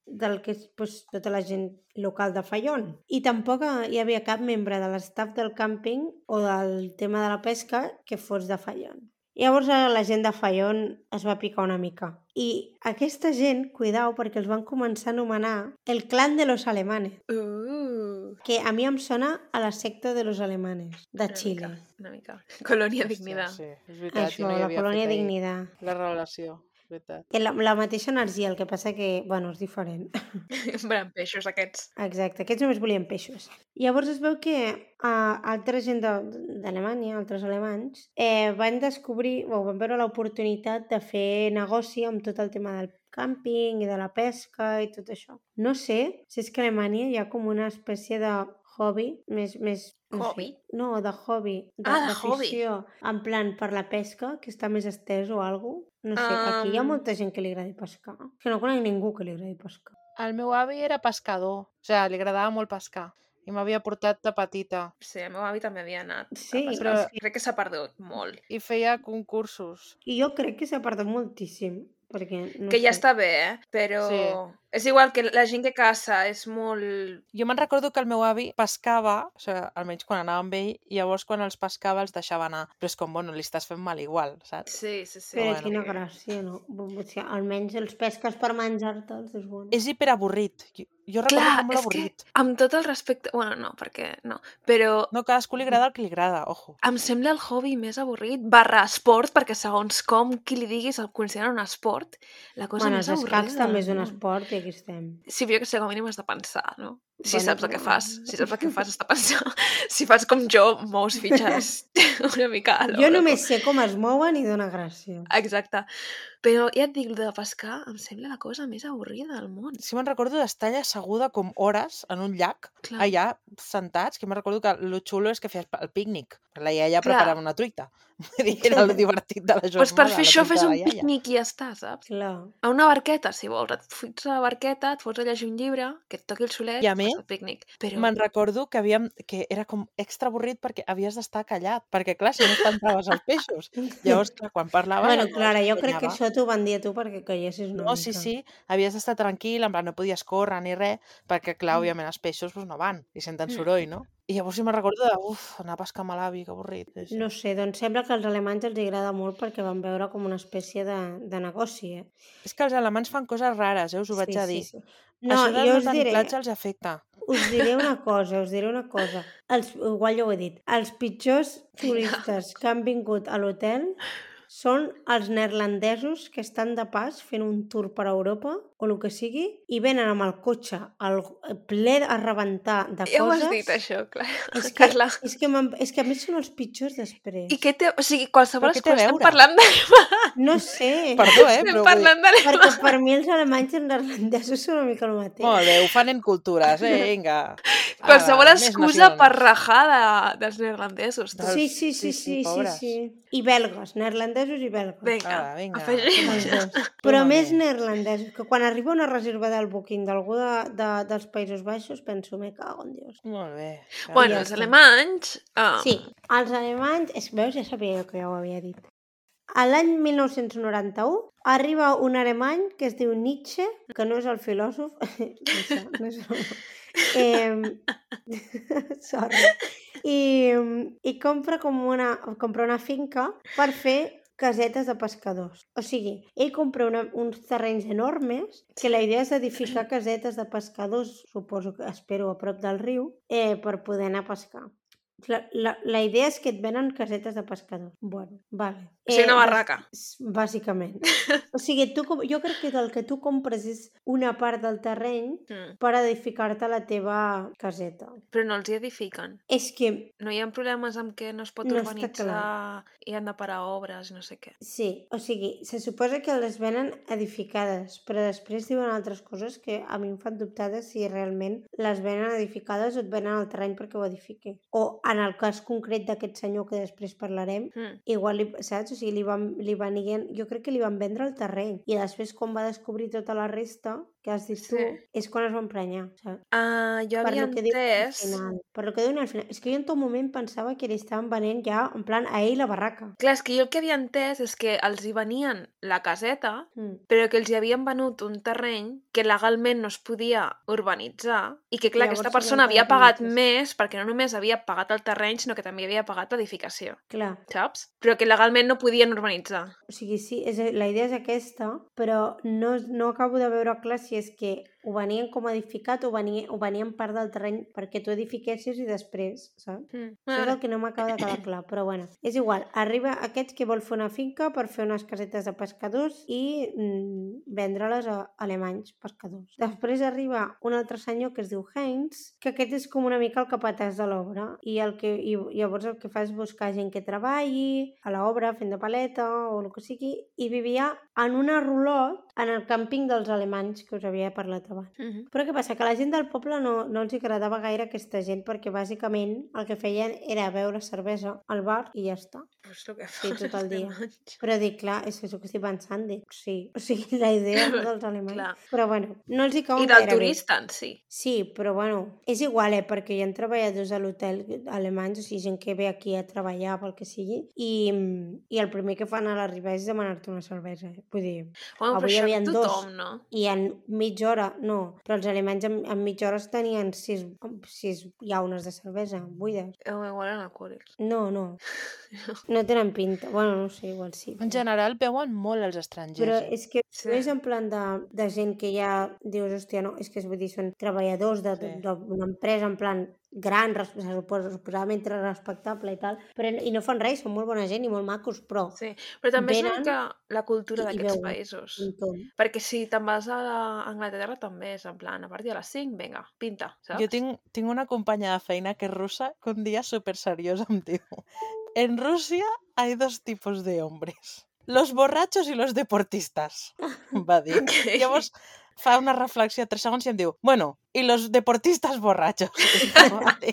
S2: del que és pues, tota la gent local de Fallon. I tampoc eh, hi havia cap membre de l'estaf del càmping o del tema de la pesca que fos de Fallon. Llavors eh, la gent de Fallon es va picar una mica. I aquesta gent, cuidao, perquè els van començar a anomenar el clan de los alemanes
S1: Uh,
S2: que a mi em sona a la secta de los alemanes, de Xile.
S1: Mica, una mica. Colonia
S3: Hòstia,
S1: Dignidad.
S3: Sí, és veritat,
S2: Això,
S3: jo no hi
S2: la
S3: havia
S2: colònia
S3: fet ahir
S2: Dignidad.
S3: La relació. és veritat.
S2: Té La, la mateixa energia, el que passa que, bueno, és diferent.
S1: Venen peixos aquests.
S2: Exacte, aquests només volien peixos. Llavors es veu que uh, altra gent de- d'Alemanya, altres alemanys, eh, van descobrir o van veure l'oportunitat de fer negoci amb tot el tema del càmping i de la pesca i tot això. No sé si és que a Alemanya hi ha com una espècie de hobby, més... més no sé.
S1: Hobby?
S2: No, de hobby. De,
S1: Ah, de hobby.
S2: d'afició, En plan, per la pesca, que està més estès o alguna No sé, aquí hi ha
S1: Am.
S2: molta gent que li agradi pescar. És Que no conec ningú que li agradi pescar.
S3: El meu avi era pescador, o sigui, li agradava molt pescar i m'havia portat de petita
S1: Sí, el meu avi també havia anat. a
S2: Sí,
S1: pescar.
S3: però-
S1: Crec que s'ha perdut molt.
S3: i feia concursos.
S2: I jo crec que s'ha perdut moltíssim, perquè... No
S1: que ja
S2: sé.
S1: està bé, eh? Però
S3: Sí.
S1: és igual que la gent que caça és molt...
S3: Jo me'n recordo que el meu avi pescava, o sigui, almenys quan anava amb ell, i llavors quan els pescava els deixava anar. Però és com, bueno, li estàs fent mal igual, saps?
S1: Sí, sí, sí.
S2: Però
S3: bueno.
S2: quina gràcia, no? Bo- bo- O sigui, almenys els pesques per menjar-te'ls és bon.
S3: És hiperavorrit. Jo, jo recordo
S1: Clar,
S3: que molt
S1: és que
S3: avorrit.
S1: amb tot el respecte... Bueno, no, perquè no. Però
S3: No, cadascú li
S1: Mm.
S3: agrada el que li agrada, ojo.
S1: em sembla el hobby més avorrit barra esport, perquè segons com qui li diguis el considera un esport, la cosa
S2: Bueno,
S1: més
S2: els
S1: avorrida
S2: escacs també és
S1: del
S2: un
S1: món.
S2: esport i aquí estem.
S1: Sí, però jo que sé, com a mínim has de pensar, no? Si
S2: Bueno,
S1: saps el que
S2: però-
S1: fas, si saps el que fas has de pensar. Si fas com jo, mous fitxes una mica a
S2: jo
S1: l'hora,
S2: només sé com es mouen i dóna gràcia.
S1: Exacte. Però ja et dic, el de pescar em sembla la cosa més avorrida del món.
S3: Si me'n recordo d'estar allà asseguda com hores en un llac,
S1: Clar.
S3: allà sentats, que me'n recordo que lo xulo és que feies el pícnic. La iaia
S1: Clar.
S3: preparava una truita. Vull dir, Era lo divertit de la jornada.
S1: Doncs per fer
S3: la
S1: això
S3: truita
S1: fes
S3: de la
S1: un
S3: iaia.
S1: pícnic i ja està, saps?
S2: Clar.
S1: A una barqueta, si vols. Et fots a la barqueta, et fots a llegir un llibre, que et toqui el solet,
S3: I a
S1: fas
S3: més,
S1: el pícnic. Però
S3: Me'n recordo que, havíem, que era com extra avorrit perquè havies d'estar callat, perquè clar, si no espantaves els peixos. Llavors, clar, quan parlaves...
S2: bueno,
S3: el noi
S2: Clara, jo crec que
S3: s'emprenyava.
S2: això t'ho van dir a tu perquè callessis una
S3: No, Oh, sí,
S2: mica.
S3: sí, havies d'estar tranquil, en plan, no podies córrer ni res, perquè clar,
S1: Mm.
S3: òbviament els peixos pues, no van i senten
S1: Mm.
S3: soroll, no? I llavors si me'n recordo de, uf, anar a pescar amb l'avi, que avorrit. Sí, sí.
S2: No sé, doncs sembla que als alemanys els agrada molt perquè van veure com una espècie de, de negoci, eh?
S3: És que els alemans fan coses rares, eh, us ho vaig a dir.
S2: Sí, sí. No,
S3: això de
S2: jo
S3: no
S2: us
S3: tenir
S2: diré...
S3: platja els afecta.
S2: Us diré una cosa, us diré una cosa. Els, igual ja ho he dit. Els pitjors turistes que han vingut a l'hotel són els neerlandesos que estan de pas fent un tour per Europa o el que sigui i venen amb el cotxe al, ple a rebentar de
S1: ja ho
S2: coses.
S1: has dit, això, clar.
S2: És que,
S1: Carla.
S2: és, que m'han- és que a més són els pitjors després.
S1: I què té... O sigui, qualsevol
S3: Però què té a
S1: excusa... Estem
S3: veure?
S1: parlant de...
S2: No sé,
S3: Perdó, eh,
S1: Estem
S3: però... vull dir-
S1: parlant de...
S2: perquè per mi els alemanys i els neerlandesos són una mica el mateix.
S3: Molt bé, ho fan en cultures, eh, vinga. Ara,
S1: Qualsevol
S3: Ah, més
S1: excusa per
S3: nacions.
S1: rajar de, dels neerlandesos. tu.
S3: Dels-
S2: Sí, sí, sí,
S3: sí, sí,
S2: sí, sí,
S3: pobres.
S2: sí. I belgues, neerlandesos i belgues.
S1: Vinga,
S3: Ara, vinga,
S1: afegim.
S2: Els
S3: Neerlandesos.
S2: dos. Però
S3: Totalment.
S2: més neerlandesos, que quan arriba una reserva del booking d'algú de, de, dels Països Baixos penso, me cago en Dios.
S3: Molt bé. clar.
S1: Bueno,
S2: Ja
S1: els
S2: està.
S1: alemanys... Um,
S2: Sí, els alemanys, és, veus, ja sabia jo que ja ho havia dit. A l'any 1991 arriba un alemany que es diu Nietzsche, que no és el filòsof, no sé, no és el... Eh, sorry. I, i compra com una, compra una finca per fer casetes de pescadors. O sigui, ell compra una, uns terrenys enormes que la idea és edificar casetes de pescadors, suposo que espero a prop del riu, eh, per poder anar a pescar. La, la, la idea és que et venen casetes de pescadors. Bueno, vale.
S1: O sigui, una eh,
S2: bas-
S1: barraca.
S2: s- Bàsicament. O sigui, tu, com- jo crec que del que tu compres és una part del terreny
S1: Mm.
S2: per edificar-te la teva caseta.
S1: Però no els hi edifiquen.
S2: És que,
S1: No hi ha problemes amb què no es pot
S2: No està
S1: urbanitzar i han de parar obres i no sé què.
S2: sí, o sigui, se suposa que les venen edificades, però després diuen altres coses que a mi em fan dubtar de si realment les venen edificades o et venen al terreny perquè ho edifiqui. O en el cas concret d'aquest senyor que després parlarem,
S1: Mm.
S2: igual, li, saps? O sigui, li van, li van dient, jo crec que li van vendre el terreny i després com va descobrir tota la resta que has dit
S1: Sí.
S2: tu, és quan es va emprenyar, saps?
S1: Ah, jo
S2: Per
S1: havia
S2: lo que diuen al
S1: entès...
S2: final. Per lo que diuen al final. És que jo en tot moment pensava que li estaven venent ja, en plan, a ell la barraca.
S1: Clar, és que jo el que havia entès és que els hi venien la caseta,
S2: Mm.
S1: però que els hi havien venut un terreny que legalment no es podia urbanitzar i que, clar,
S2: Llavors
S1: aquesta
S2: havien
S1: persona havia
S2: pagat
S1: pagat
S2: multes.
S1: més perquè no només havia pagat el terreny, sinó que també havia pagat l'edificació,
S2: Clar.
S1: saps? Però que legalment no podien urbanitzar.
S2: O sigui, sí, és, la idea és aquesta, però no, no acabo de veure clar si que és que ho venien com edificat, ho venien, ho venien part del terreny perquè tu edifiquessis i després, saps?
S1: Mm.
S2: Això és
S1: Ara,
S2: el que no m'acaba de quedar clar, però bueno, és igual. Arriba aquest que vol fer una finca per fer unes casetes de pescadors i mm, vendre-les a alemanys pescadors. Després arriba un altre senyor que es diu Heinz, que aquest és com una mica el capatàs de l'obra i el que i, llavors el que fa és buscar gent que treballi a l'obra fent de paleta o el que sigui i vivia en una rulot en el càmping dels alemanys que us havia parlat abans.
S1: Mhm.
S2: Però què passa? Que la gent del poble no, no els hi agradava gaire aquesta gent perquè bàsicament el que feien era beure cervesa al bar i ja està.
S1: Pues lo que
S2: Sí,
S1: fan
S2: tot el
S1: els
S2: dia.
S1: alemanys.
S2: Però dic, clar, és que és el que estic pensant, dic, sí. O sigui, la idea dels alemanys.
S1: Clar.
S2: Però bueno, no els hi cau
S1: I del turista en si.
S2: Sí, però bueno, és igual, eh? Perquè hi ha treballadors a l'hotel alemanys, o sigui, gent que ve aquí a treballar, pel que sigui, i, mm, i el primer que fan a l'arribar és demanar-te una cervesa. Eh? Vull dir,
S1: Bueno, Avui
S2: Avui hi
S1: però això
S2: havien dos.
S1: tothom, no?
S2: i en mitja hora, no, però els alemanys en, en mitja hora es tenien sis, sis llaunes de cervesa buides.
S1: Eh, Igual eren alcohòlics.
S2: No, no, no tenen pinta. Bueno, no ho sé, igual sí.
S3: En general veuen molt els estrangers.
S2: Però
S3: eh?
S2: és que
S1: Sí.
S2: no és en plan de, de gent que ja dius, hòstia, no, és que és, vull dir, són treballadors de-
S3: Sí.
S2: de- d'una empresa en plan gran, res- se suposa, suposadament respectable i tal, però, i no fan res, són molt bona gent i molt macos, però...
S1: Sí. Però també és una
S2: Venen
S1: mica la cultura
S2: i- i
S1: d'aquests
S2: veuen.
S1: països.
S2: un tom.
S1: Perquè si te'n vas a la- a Anglaterra també és en plan, a partir de les 5, vinga, pinta, saps?
S3: Jo tinc, tinc una companya de feina que és russa que un dia súper seriosa em diu En Rusia hay dos tipos de hombres. Los borrachos y los deportistas, em va dir.
S1: Ok.
S3: Llavors fa una reflexió de 3 segons i em diu Bueno, y los deportistas borrachos. I em va dir.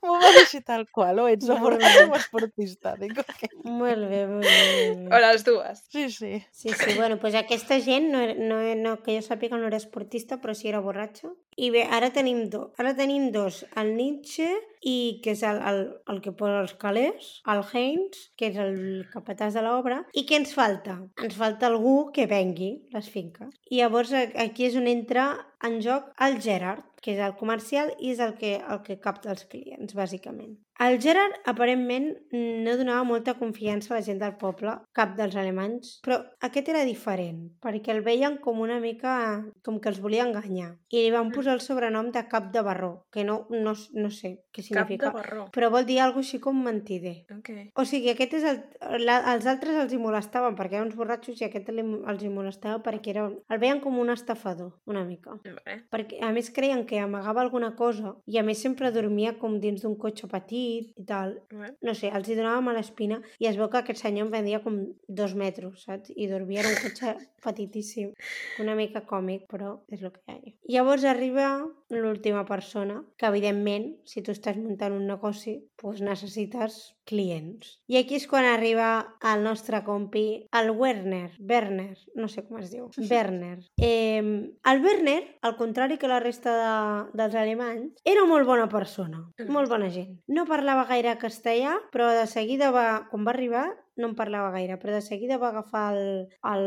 S3: M'ho va dir així tal qual, o ets o borratxo o esportista. Dic, ok.
S2: Molt bé, molt bé, molt bé.
S1: O les dues.
S3: Sí, sí.
S2: Sí, sí, bueno, pues aquesta gent, no, era- no, no, que jo sàpiga no era esportista, però sí era borratxo. I bé, ara tenim, do, ara tenim dos, el Nietzsche, i que és el, el, el que posa els calés, el Heinz, que és el capatàs de l'obra, i què ens falta? Ens falta algú que vengui les finques. I llavors a- aquí és on entra en joc el Gerard, que és el comercial i és el que, el que capta els clients, bàsicament. El Gerard, aparentment, no donava molta confiança a la gent del poble, cap dels alemanys, però aquest era diferent, perquè el veien com una mica... com que els volia enganyar. I li
S1: Mm.
S2: van posar el sobrenom de Cap de Barró, que no, no, no sé què
S1: Cap de
S2: significa,
S1: barró.
S2: però vol dir alguna així com mentider.
S1: Ok.
S2: O sigui, aquest és el, la, els altres els hi molestaven perquè eren uns borratxos i aquest li- els hi molestava perquè era, el veien com un estafador, una mica.
S1: Vale.
S2: Perquè, a més, creien que amagava alguna cosa i, a més, sempre dormia com dins d'un cotxe petit i tal.
S1: Bueno.
S2: No sé, els hi donava mala espina i es veu que aquest senyor en vendia com dos metros, saps? I dormia en un cotxe petitíssim. Una mica còmic, però és el que hi ha. Llavors arriba l'última persona, que evidentment, si tu estàs muntant un negoci, doncs necessites clients. I aquí és quan arriba el nostre compi, el Werner, Werner, no sé com es diu, Werner. Eh, el Werner, al contrari que la resta de, dels alemanys, era molt bona persona, molt bona gent. No parlava gaire castellà, però de seguida va, quan va arribar, no en parlava gaire, però de seguida va agafar el, el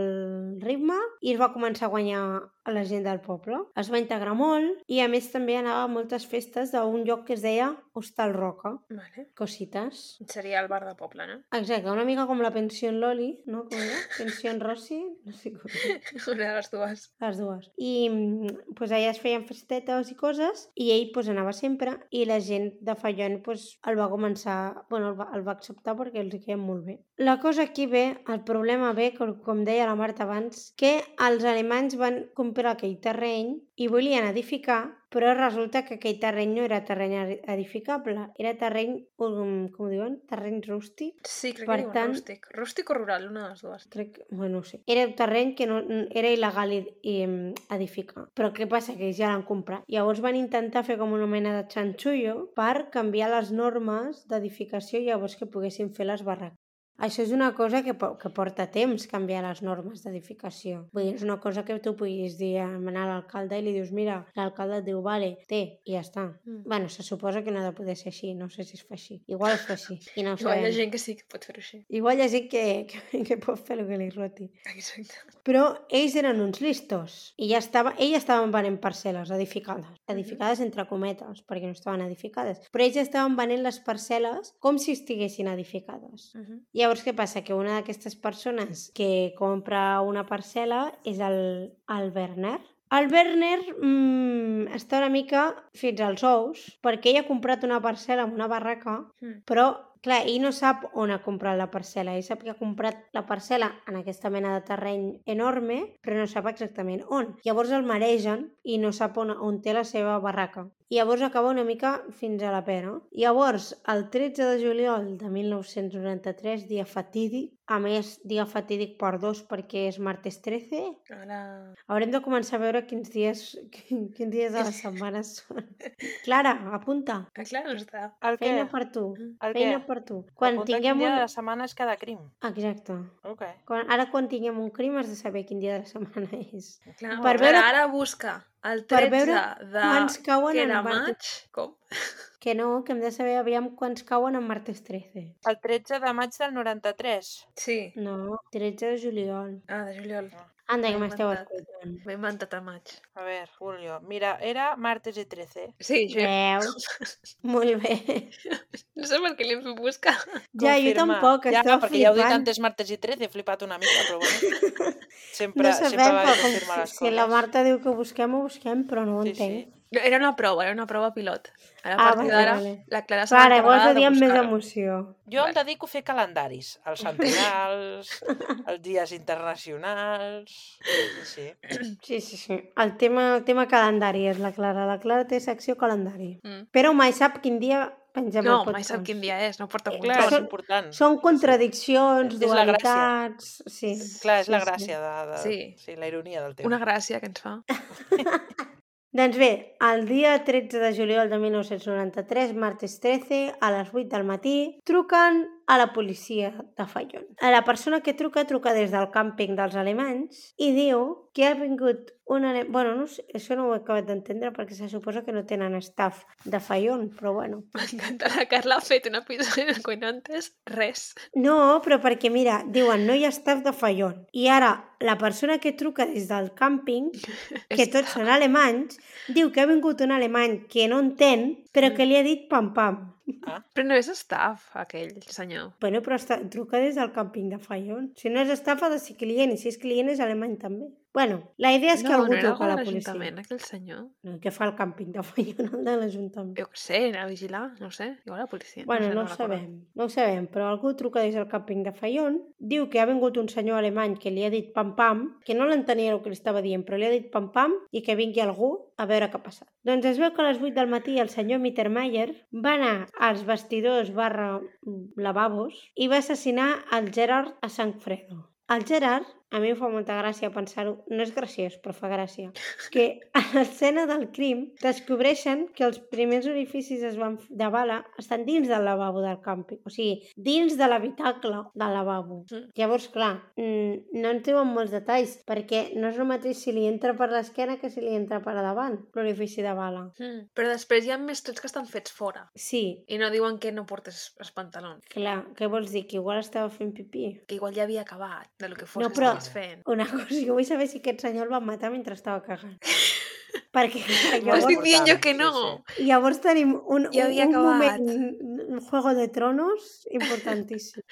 S2: ritme i es va començar a guanyar a la gent del poble. Es va integrar molt i, a més, també anava a moltes festes d'un lloc que es deia Hostal Roca.
S1: Vale.
S2: Cosites.
S1: Seria el bar de poble, no?
S2: Exacte, una mica com la Pensió Loli, no? Com era? Pensió Rossi? No sé com era.
S1: Una de les dues.
S2: Les dues. I mm, pues, allà es feien festetes i coses i ell pues, anava sempre i la gent de Fallon pues, el va començar... Bueno, el va, el va acceptar perquè els hi queia molt bé. La cosa aquí ve, el problema ve, com, com deia la Marta abans, que els alemanys van comprar aquell terreny i volien edificar però resulta que aquell terreny no era terreny edi- edificable, era terreny, um, com ho diuen, terreny rústic,
S1: Sí, crec
S2: Per
S1: que diuen
S2: tant-
S1: rústic. Rústic o rural, una de les dues.
S2: crec que, bueno, no ho sé. Era un terreny que no, n- era il·legal i, i em, edificar. Però què passa? Que ja l'han comprat. Llavors van intentar fer com una mena de xanxullo per canviar les normes d'edificació i llavors que poguessin fer les barraques. Això és una cosa que, po- que porta temps canviar les normes d'edificació. Vull dir, és una cosa que tu puguis dir a anar a l'alcalde i li dius, mira, l'alcalde et diu, vale, té, i ja està.
S1: Mm.
S2: Bueno, se suposa que no ha de poder ser així, no sé si es fa així. Igual es fa així, i no ho
S1: Igual hi ha
S2: sabem.
S1: gent que sí que pot fer-ho així.
S2: Igual hi ha gent que, que, que pot fer el que li roti.
S1: Exacte.
S2: Però ells eren uns listos i ja estava, ells estaven venent parcel·les edificades, edificades entre cometes, perquè no estaven edificades, però ells estaven venent les parcel·les com si estiguessin edificades.
S1: Uh -huh.
S2: Llavors, què passa? Que una d'aquestes persones que compra una parcel·la és el, el Werner. El Werner mmm, està una mica fins als ous perquè ell ha comprat una parcel·la amb una barraca,
S1: Mm.
S2: però, clar, ell no sap on ha comprat la parcel·la. Ell sap que ha comprat la parcel·la en aquesta mena de terreny enorme, però no sap exactament on. Llavors el maregen i no sap on, on té la seva barraca. Llavors acaba una mica fins a la pera. Llavors, el 13 de juliol de 1993, dia fatídic, a més, dia fatídic per dos perquè és martes 13,
S1: Ara...
S2: Haurem de començar a veure quins dies, quin- quins dies de la setmana són. Clara, apunta.
S1: Ah, clar, està.
S3: El què?
S2: Feina per tu.
S3: El què?
S2: Feina per tu. Quan
S3: Apuntar
S2: tinguem
S3: quin dia de
S2: un...
S3: la setmana és cada crim.
S2: Exacte.
S3: Ok.
S2: Quan, ara quan tinguem un crim has de saber quin dia de la setmana és.
S1: Clar,
S2: Per
S1: per
S2: veure-
S1: veure... ara busca el 13
S2: per
S1: per
S2: veure
S1: veure de...
S2: Quants cauen
S1: Que
S2: en
S1: era
S2: martes...
S1: maig? Com?
S2: Que no, que hem de saber aviam quants cauen en martes 13.
S3: El 13 de maig del 93.
S1: Sí.
S2: No, 13 de juliol.
S1: Ah, de juliol.
S2: Anda, que
S1: M'he
S2: m'esteu
S1: inventat.
S2: escoltant.
S1: M'he inventat a maig.
S3: A veure, Julio. Mira, era martes i 13.
S1: Sí, jo...
S2: Eh. Veus? Molt bé.
S1: No sé per què l'hem fet buscar.
S2: Ja, jo
S3: Confirma.
S2: tampoc,
S3: ja,
S2: estava
S3: perquè ja heu dit
S2: flipant.
S3: antes martes i 13, he flipat una mica, però bueno. Sempre,
S2: No
S3: sempre
S2: sabem,
S3: va
S2: però
S3: bé confirmar
S2: com,
S3: les coses.
S2: si la Marta diu que ho busquem, ho busquem, però no ho
S3: Sí,
S2: entenc.
S3: sí.
S1: Era una prova, era una prova pilot. Ara, a
S2: Ah,
S1: partir
S2: vale,
S1: d'ara,
S2: vale.
S1: la Clara s'ha
S2: Vale, vols
S1: d'encarregar
S2: dir
S1: de
S2: amb més
S1: buscar-ho.
S2: emoció.
S3: Jo em
S1: Vale.
S3: dedico a fer calendaris, els centenals, els dies internacionals... Sí, sí.
S2: Eh, Sí, sí, sí. El tema, el tema calendari és la Clara. La Clara té secció calendari.
S1: Mm.
S2: Però mai sap quin dia pengem
S1: No,
S2: el podcast.
S1: mai sap quin dia és, no porta
S2: Eh,
S3: Clar,
S1: punts.
S3: és
S2: són-
S3: important.
S2: Són contradiccions,
S3: És la gràcia.
S2: dualitats... Sí.
S3: Clar, és
S2: sí,
S3: la
S2: sí.
S3: gràcia, de, de... Sí.
S1: Sí.
S3: sí, la ironia del tema.
S1: Una gràcia que ens fa.
S2: Doncs bé, el dia 13 de juliol de 1993, martes 13, a les 8 del matí, truquen a la policia de Fallon. A la persona que truca, truca des del càmping dels alemanys i diu que ha vingut un... ale- Bueno, no sé, això no ho he acabat d'entendre perquè se suposa que no tenen staff de Fallon, però bueno.
S1: M'encanta la Carla ha fet un episodi de Cuinantes, res.
S2: No, però perquè, mira, diuen no hi ha staff de Fallon. I ara, la persona que truca des del càmping que
S1: És-
S2: tots són alemanys, diu que ha vingut un alemany que no entén,
S1: Mm.
S2: però que li ha dit pam-pam.
S1: Però no és staff, aquell senyor.
S2: Bueno, però està, truca des del càmping de Fallon. Si no és estafa, ha de ser client, i si és client és alemany també. Bueno, la idea és que
S1: no,
S2: algú
S1: no era
S2: truca a la
S1: de
S2: policia.
S1: l'Ajuntament, aquell senyor.
S2: No, què fa el càmping de Fallon, el de l'Ajuntament?
S1: Jo què sé, anar a vigilar, no ho sé. Igual la policia.
S2: Bueno,
S1: sé,
S2: no ho
S1: recordo.
S2: sabem, no ho sabem, però algú truca des del càmping de Fallon, diu que ha vingut un senyor alemany que li ha dit pam-pam, que no l'entenia el que li estava dient, però li ha dit pam-pam i que vingui algú a veure què ha passat. Doncs es veu que a les 8 del matí el senyor Mittermeier va anar als vestidors barra lavabos i va assassinar el Gerard a Sant Fredo. El Gerard, a mi em fa molta gràcia pensar-ho, no és graciós, però fa gràcia, que a l'escena del crim descobreixen que els primers orificis es van f- de bala estan dins del lavabo del càmping, o sigui, dins de l'habitacle del lavabo.
S1: Mm.
S2: Llavors, clar, mm, no ens diuen molts detalls, perquè no és el mateix si li entra per l'esquena que si li entra per a davant, l'orifici de bala.
S1: Mm. Però després hi ha més trets que estan fets fora.
S2: Sí,
S1: I no diuen que no portes els pantalons.
S2: clar, què vols dir? Que igual estava fent pipí?
S1: Que igual ja havia acabat de lo que fos
S2: No,
S1: que
S2: però-
S1: estigués fent.
S2: Una cosa, jo vull saber si aquest senyor el va matar mentre estava cagant. perquè
S1: M'ho
S2: clar,
S3: Molt
S2: llavors,
S1: estic dient jo
S3: important,
S1: que no.
S2: llavors tenim un,
S1: Ja
S2: un,
S1: havia
S2: un
S1: acabat.
S2: moment, un Juego de Tronos importantíssim.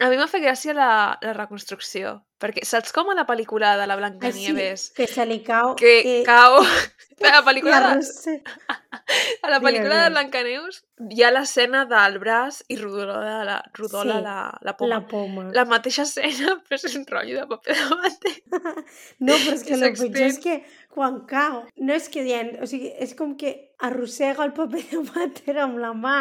S1: A mi m'ha fet gràcia la, la reconstrucció. Perquè saps com a la pel·lícula de la Blancanieves
S2: que se li cau...
S1: que cau... A la pel·lícula,
S2: La
S1: de,
S2: Rosa...
S1: a la pel·lícula de
S2: digues.
S1: Blancaneus hi ha l'escena del braç i rodola la, rodola
S2: Sí,
S1: la, la poma.
S2: La poma.
S1: La mateixa escena, però és un rotllo de paper de manter.
S2: No, però és que
S1: que
S2: el pitjor és
S1: s'extén.
S2: que quan cau, no és que dient, o sigui, és com que arrossega el paper de vàter amb la mà.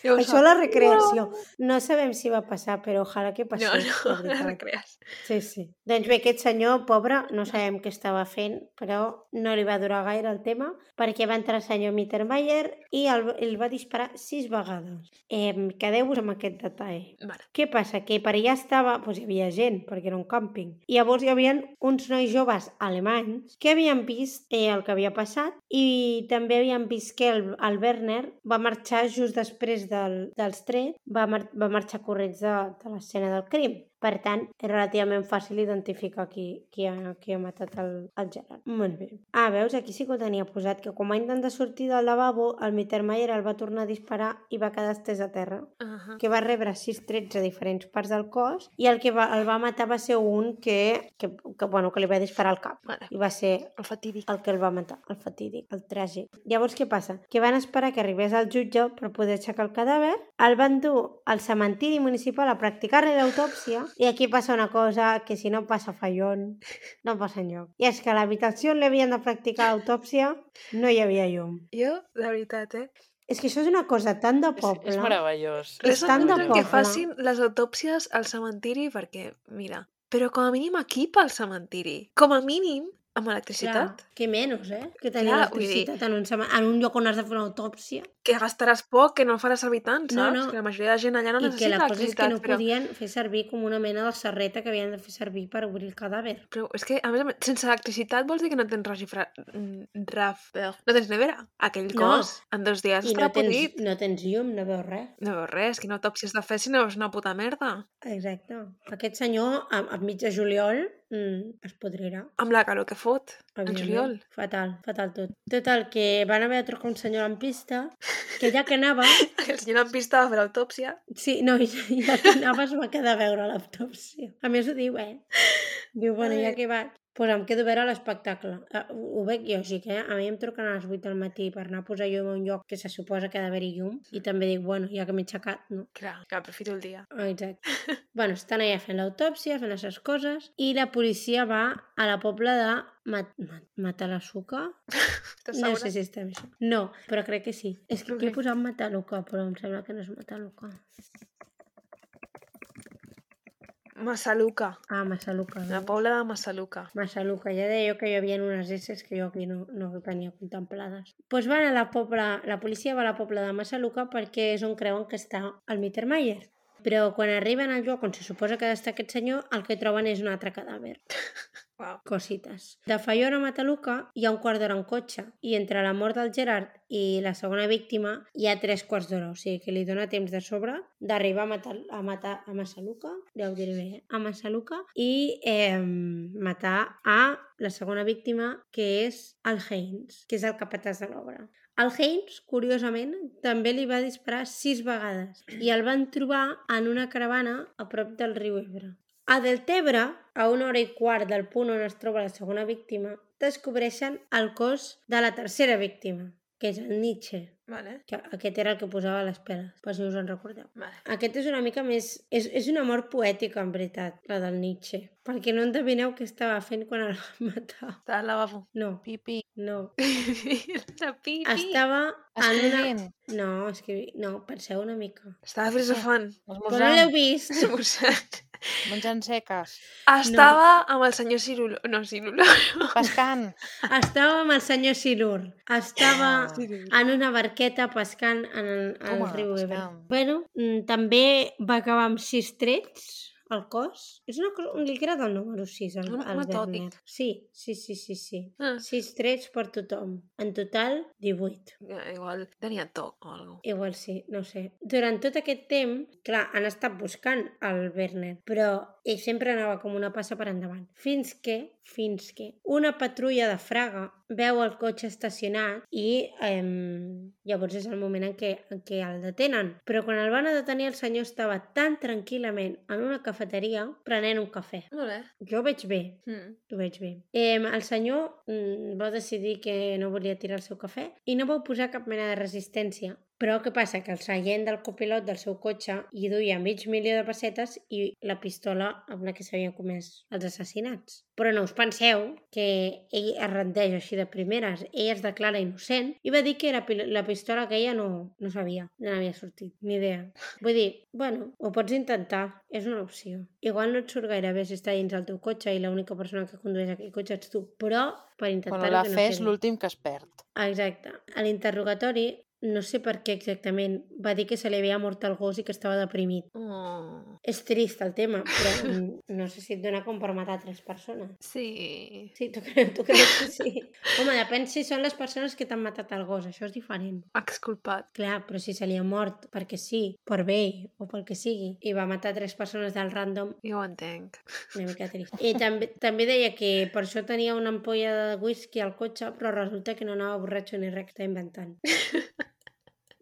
S1: Llavors,
S2: Això a la recreació. No sabem si va passar, però ojalà que passés.
S1: No, no, la
S2: de veritat.
S1: recrees.
S2: Sí, sí. Doncs bé, aquest senyor, pobre, no sabem què estava fent, però no li va durar gaire el tema, perquè va entrar el senyor Mittermeier i el, el va disparar sis vegades. Eh, Quedeu-vos amb aquest detall.
S1: Vale.
S2: Què passa? Que per allà estava... Doncs hi havia gent, perquè era un càmping. I llavors hi havia uns nois joves alemanys que havien vist eh, el que havia passat i també havien vist que el, el Werner va marxar just després del, dels trets, va, mar va marxar corrents de, de l'escena del crim. Per tant, és relativament fàcil identificar qui, qui, ha, qui ha matat el, el Gerard. Molt bé. Ah, veus, aquí sí que ho tenia posat, que quan va intentar sortir del lavabo, el Mittermeier el va tornar a disparar i va quedar estès a terra,
S1: Uh -huh.
S2: que va rebre 6-13 diferents parts del cos, i el que va, el va matar va ser un que, que, que, bueno, que li va disparar al cap.
S1: Mare,
S2: I va ser
S1: el fatídic.
S2: el que el va matar, el fatídic, el tràgic. Llavors, què passa? Que van esperar que arribés al jutge per poder aixecar el cadàver, el van dur al cementiri municipal a practicar-li l'autòpsia i aquí passa una cosa que si no passa a fallon, no passa enlloc. I és que a l'habitació on li havien de practicar l'autòpsia no hi havia llum.
S1: Jo, de veritat, eh?
S2: És que això és una cosa tan de
S3: És,
S2: poble.
S3: és meravellós.
S1: Res
S2: tant
S1: en
S2: de
S1: contra que
S2: poble.
S1: facin les autòpsies al cementiri perquè, mira, però com a mínim aquí pel cementiri. Com a mínim amb electricitat. Clar.
S2: que menys, eh? Que tenir
S1: Clar, vull dir-
S2: electricitat en un, cema- en un lloc on has de fer una autòpsia.
S1: Que gastaràs poc, que no el faràs servir tant, saps?
S2: No,
S1: No,
S2: no.
S1: no. Que la majoria de gent allà no
S2: I que
S1: necessita
S2: la cosa és que
S1: electricitat.
S2: no
S1: però...
S2: podien fer servir com una mena de serreta que havien de fer servir per obrir el cadàver.
S1: Però és que, a més a més, sense electricitat vols dir que no tens regifra... mm, raf... No tens nevera. Aquell
S2: No.
S1: cos, en dos dies,
S2: I
S1: estarà
S2: no
S1: no
S2: tens,
S1: podrit.
S2: no tens llum, no veus res.
S1: No veus res, quina autòpsia has de fer si no veus una puta merda.
S2: Exacte. Aquest senyor, a, a mig de juliol, mm, es podrirà.
S1: Amb la calor que fot, en
S2: evidentment.
S1: juliol.
S2: Fatal, fatal tot. Total, que van haver de trucar un senyor en pista, que ja que anava...
S1: El senyor en pista va fer l'autòpsia.
S2: Sí, no, ja que anava es va quedar a veure l'autòpsia. A més ho diu, eh? Diu, bueno, ja que vaig, doncs em quedo a veure l'espectacle. Eh, ho, ho veig lògic, eh? A mi em truquen a les 8 del matí per anar a posar llum a un lloc que se suposa que ha d'haver-hi llum. I també dic, bueno, ja que m'he aixecat, no?
S1: Clar, que aprofito el dia.
S2: Ah, Exacte. bueno, estan allà fent l'autòpsia, fent les seves coses, i la policia va a la pobla de Mat Mat Matalassuca?
S1: Estàs
S2: No
S1: segura?
S2: sé si està bé això. No, però crec que sí. És que aquí he
S1: Ok.
S2: posat Mataluca, però em sembla que no és Mataluca.
S1: Massaluca.
S2: Ah, Massaluca.
S1: La
S2: No?
S1: pobla de Massaluca.
S2: Massaluca, ja deia jo que hi havia unes S que jo aquí no, no tenia contemplades. Doncs pues van a la pobla, la policia va a la pobla de Massaluca perquè és on creuen que està el Mittermeier. Però quan arriben al lloc on se suposa que ha d'estar aquest senyor, el que troben és un altre cadàver.
S1: Wow.
S2: cosites. De Faiona a Mataluca hi ha un quart d'hora en cotxe i entre la mort del Gerard i la segona víctima hi ha tres quarts d'hora, o sigui que li dona temps de sobre d'arribar a, matar, a, matar, a Massaluca, ja ho diré bé, eh? a Massaluca i eh, matar a la segona víctima que és el Haynes, que és el capatàs de l'obra. El Haynes, curiosament, també li va disparar sis vegades i el van trobar en una caravana a prop del riu Ebre. A Deltebre, a una hora i quart del punt on es troba la segona víctima, descobreixen el cos de la tercera víctima, que és el Nietzsche,
S1: Vale.
S2: que aquest era el que posava les peles, per si us en recordeu.
S1: Vale.
S2: Aquest és una mica més... És, és una mort poètica, en veritat, la del Nietzsche, perquè no endevineu què estava fent quan el van matar.
S1: Està al lavabo.
S2: No,
S3: Pipi,
S2: no.
S1: la pipi.
S2: Estava en una...
S3: escrivint,
S2: No, escrivi... No, penseu una mica.
S1: Estava filosofant.
S2: Però no l'heu
S3: esmorzant,
S2: vist?
S1: Esmorzant.
S3: menjant seques,
S1: Estava amb el senyor Cirulo. No, Cirulo.
S3: pescant.
S2: Estava amb el senyor Silur. Estava...
S3: Ah.
S2: en una barqueta pescant en el, en el
S3: Home,
S2: riu Ebre.
S3: pescant.
S2: Bueno, mm, també va acabar amb sis trets al cos. És una cosa... Li agrada el número 6 al,
S1: Un
S2: al
S1: metòdic.
S2: Werner. Sí, sí, sí, sí, sí.
S1: Ah,
S2: Sis trets per tothom. En total, 18.
S1: ja, igual tenia toc o alguna
S2: Igual sí, no ho sé. Durant tot aquest temps, clar, han estat buscant el Werner, però ell sempre anava com una passa per endavant. Fins que, fins que, una patrulla de Fraga veu el cotxe estacionat i eh, llavors és el moment en què, en què el detenen. Però quan el van a detenir el senyor estava tan tranquil·lament en una cafeteria prenent un cafè.
S1: Molt bé.
S2: Jo ho veig bé,
S1: Mm.
S2: ho veig bé. Eh, el senyor mm, va decidir que no volia tirar el seu cafè i no va posar cap mena de resistència. Però què passa? Que el seient del copilot del seu cotxe hi duia mig milió de pessetes i la pistola amb la que s'havien comès els assassinats. Però no us penseu que ell es rendeix així de primeres. Ell es declara innocent i va dir que la, pil- la pistola aquella no, no sabia, no n'havia sortit, ni idea. Vull dir, bueno, ho pots intentar, és una opció. Igual no et surt gaire bé si està dins el teu cotxe i l'única persona que condueix aquell cotxe ets tu, però per intentar
S3: Bueno, la
S2: que no
S3: fe és
S2: quedi.
S3: l'últim que es perd.
S2: Exacte. A l'interrogatori, no sé per què exactament, va dir que se li havia mort el gos i que estava deprimit.
S1: Oh.
S2: És trist el tema, però mm, no sé si et dona com per matar tres persones.
S1: Sí.
S2: Sí, tu creus, tu creus que sí. Home, depèn si són les persones que t'han matat el gos, això és diferent.
S1: Exculpat.
S2: Clar, però si se li ha mort perquè sí, per bé o pel que sigui, i va matar tres persones del random,
S1: Jo ho entenc.
S2: una mica trist. I també, també deia que per això tenia una ampolla de whisky al cotxe, però resulta que no anava borratxo ni res que està inventant.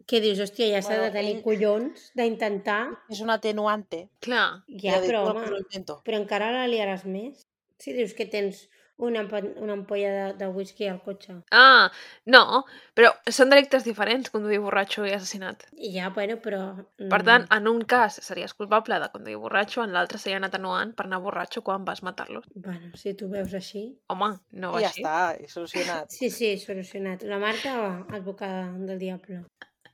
S2: que dius, hòstia, ja s'ha de
S4: Bueno,
S2: tenir
S4: ell-
S2: collons d'intentar...
S4: És un atenuante.
S1: Clar.
S2: Ja,
S4: dic,
S2: però,
S4: "Bueno,
S2: home,
S4: però ho intento.
S2: però encara la liaràs més. Si dius que tens una, ampo- una ampolla de, de whisky al cotxe.
S1: Ah, no, però són delictes diferents conduir borratxo i assassinat.
S2: I ja, bueno, però... mm,
S1: Per tant, en un cas series culpable de conduir borratxo, en l'altre seria atenuant per anar borratxo quan vas matar-lo.
S2: Bueno, si tu veus així...
S1: Home, no va
S4: I ja
S1: així.
S4: està, i solucionat.
S2: Sí, sí, solucionat. La marca advocada del diable.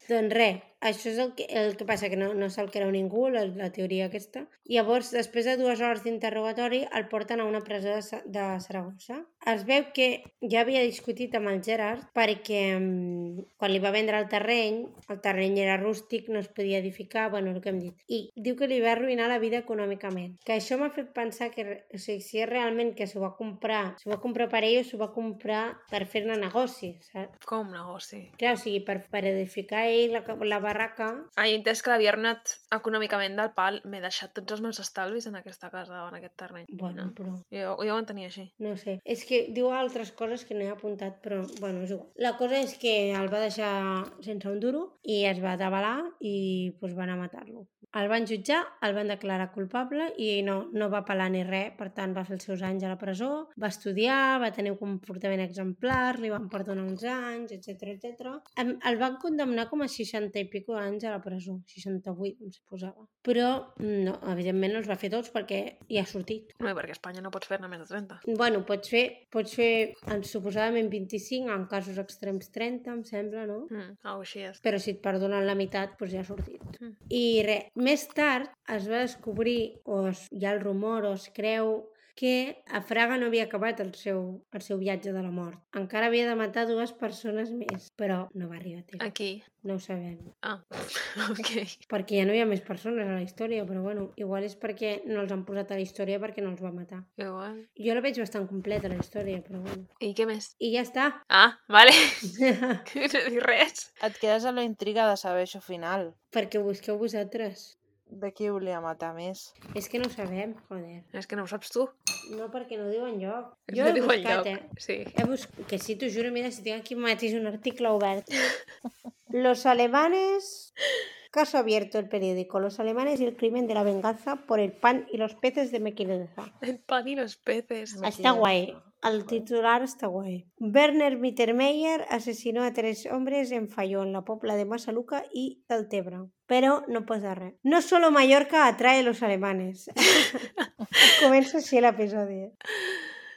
S2: Doncs res, això és el que, el que passa, que no, no se'l creu ningú, la, la teoria aquesta. Llavors, després de dues hores d'interrogatori, el porten a una presó de, Sa- de Saragossa. Es veu que ja havia discutit amb el Gerard perquè mm, quan li va vendre el terreny, el terreny era rústic, no es podia edificar, bueno, el que hem dit. I diu que li va arruïnar la vida econòmicament. Que això m'ha fet pensar que re- o sigui, si és realment que s'ho va comprar, s'ho va comprar per ell o s'ho va comprar per fer-ne negoci, saps?
S1: Com negoci?
S2: Clar, o sigui, per, per edificar ell la, ca- la barraca,
S1: Ah, he entès que l'havia anat econòmicament del pal. M'he deixat tots els meus estalvis en aquesta casa, en aquest terreny.
S2: bueno,
S1: No.
S2: però
S1: Jo, jo ho entenia així.
S2: No sé, és que diu altres coses que no he apuntat, però bueno, és igual. La cosa és que el va deixar sense un duro i es va davalar i pues, van a matar-lo. El van jutjar, el van declarar culpable i no, no va apel·lar ni res, per tant va fer els seus anys a la presó, va estudiar, va tenir un comportament exemplar, li van perdonar uns anys, etc etc. El van condemnar com a 60 i pico anys a la presó, 68 em posava. Però no, evidentment no els va fer tots perquè hi ha sortit.
S1: No, perquè a Espanya no pots fer-ne més de 30.
S2: Bueno, pots fer, pots fer en, suposadament 25, en casos extrems 30, em sembla, no?
S1: Mm, algo així és.
S2: Però si et perdonen la meitat, doncs ja ha sortit.
S1: Mm.
S2: I res, més tard es va descobrir, o es, hi ha el rumor, o es creu, que a Fraga no havia acabat el seu, el seu viatge de la mort. Encara havia de matar dues persones més, però no va arribar a temps.
S1: Aquí.
S2: No ho sabem.
S1: Ah, ok.
S2: Perquè ja no hi ha més persones a la història, però bueno, igual és perquè no els han posat a la història perquè no els va matar.
S1: Igual.
S2: Jo la veig bastant completa, la història, però bueno.
S1: I què més?
S2: I ja està.
S1: Ah, vale. no dic res.
S4: Et quedes a la intriga de saber això final.
S2: Perquè ho busqueu vosaltres.
S4: De qui volia matar més?
S2: És que no ho sabem, joder.
S1: És que no ho saps tu.
S2: No, perquè no ho diuen lloc.
S1: no
S2: he
S1: diu
S2: buscat,
S1: enlloc.
S2: eh?
S1: Sí.
S2: He bus... Que sí, t'ho juro, mira, si tinc aquí mateix un article obert. Los alemanes... Caso abierto el periódico. Los alemanes y el crimen de la venganza por el pan y los peces de Mequinenza.
S1: El pan i los peces.
S2: Está guay. El titular está guay. Werner Mittermeier asesinó a tres hombres en Fayón, la Popla de Masaluca y el Tebra. Pero no pasa res. No solo Mallorca atrae a los alemanes. Comença així l'episodi.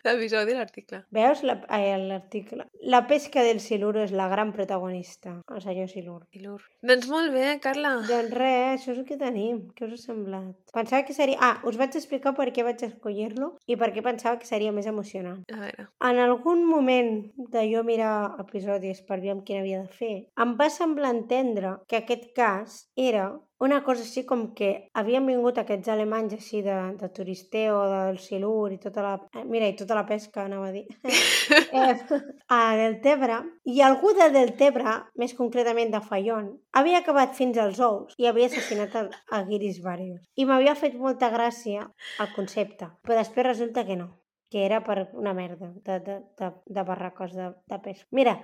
S1: L'episodi i l'article.
S2: Veus la- ai, l'article? La pesca del siluro és la gran protagonista. El senyor silur.
S1: Ilur. Doncs molt bé, Carla.
S2: Doncs res, això és el que tenim. Què us ha semblat? Pensava que seria... Ah, us vaig explicar per què vaig escollir-lo i per què pensava que seria més emocionant.
S1: A veure.
S2: En algun moment de jo mirar episodis per veure quin havia de fer, em va semblar entendre que aquest cas era una cosa així com que havien vingut aquests alemanys així de, de turisteo, del silur i tota la... eh, Mira, i tota la pesca, anava a dir. eh, a Deltebre. I algú de Deltebre, més concretament de Fallon, havia acabat fins als ous i havia assassinat a, a Guiris Barrios. I m'havia fet molta gràcia el concepte, però després resulta que no que era per una merda de, de, de, de barracos de, de pesca. Mira,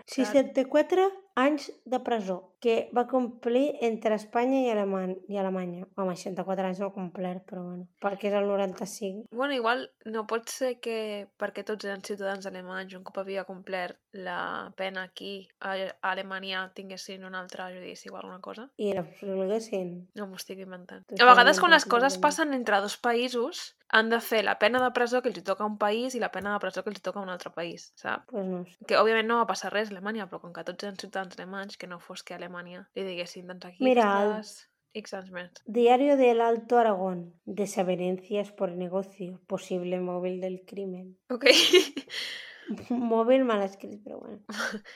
S2: 64 anys de presó que va complir entre Espanya i, Aleman i Alemanya. Home, 64 anys no ha complert, però bueno, perquè és el 95.
S1: Bueno, igual no pot ser que perquè tots eren ciutadans alemanys un cop havia complert la pena aquí a a Alemanya tinguessin un altre judici o alguna cosa.
S2: I l'absolguessin.
S1: No m'ho estic inventant.
S2: T'ho
S1: A vegades quan les
S2: estàs inventant,
S1: coses
S2: segurament.
S1: passen entre dos països han de fer la pena de presó que els hi toca a un país i la pena de presó que els hi toca a un altre país, sap?
S2: Doncs pues no ho sé.
S1: Que òbviament no va passar res a Alemanya, però com que tots eren ciutadans alemanys, que no fos que a Alemanya li diguessin, doncs aquí
S2: Mira, el-
S1: estàs X anys més.
S2: Diario del Alto Aragón. Desavenencias por negocio. Posible móvil del crimen.
S1: Ok.
S2: Móvil mal escrit, però bueno.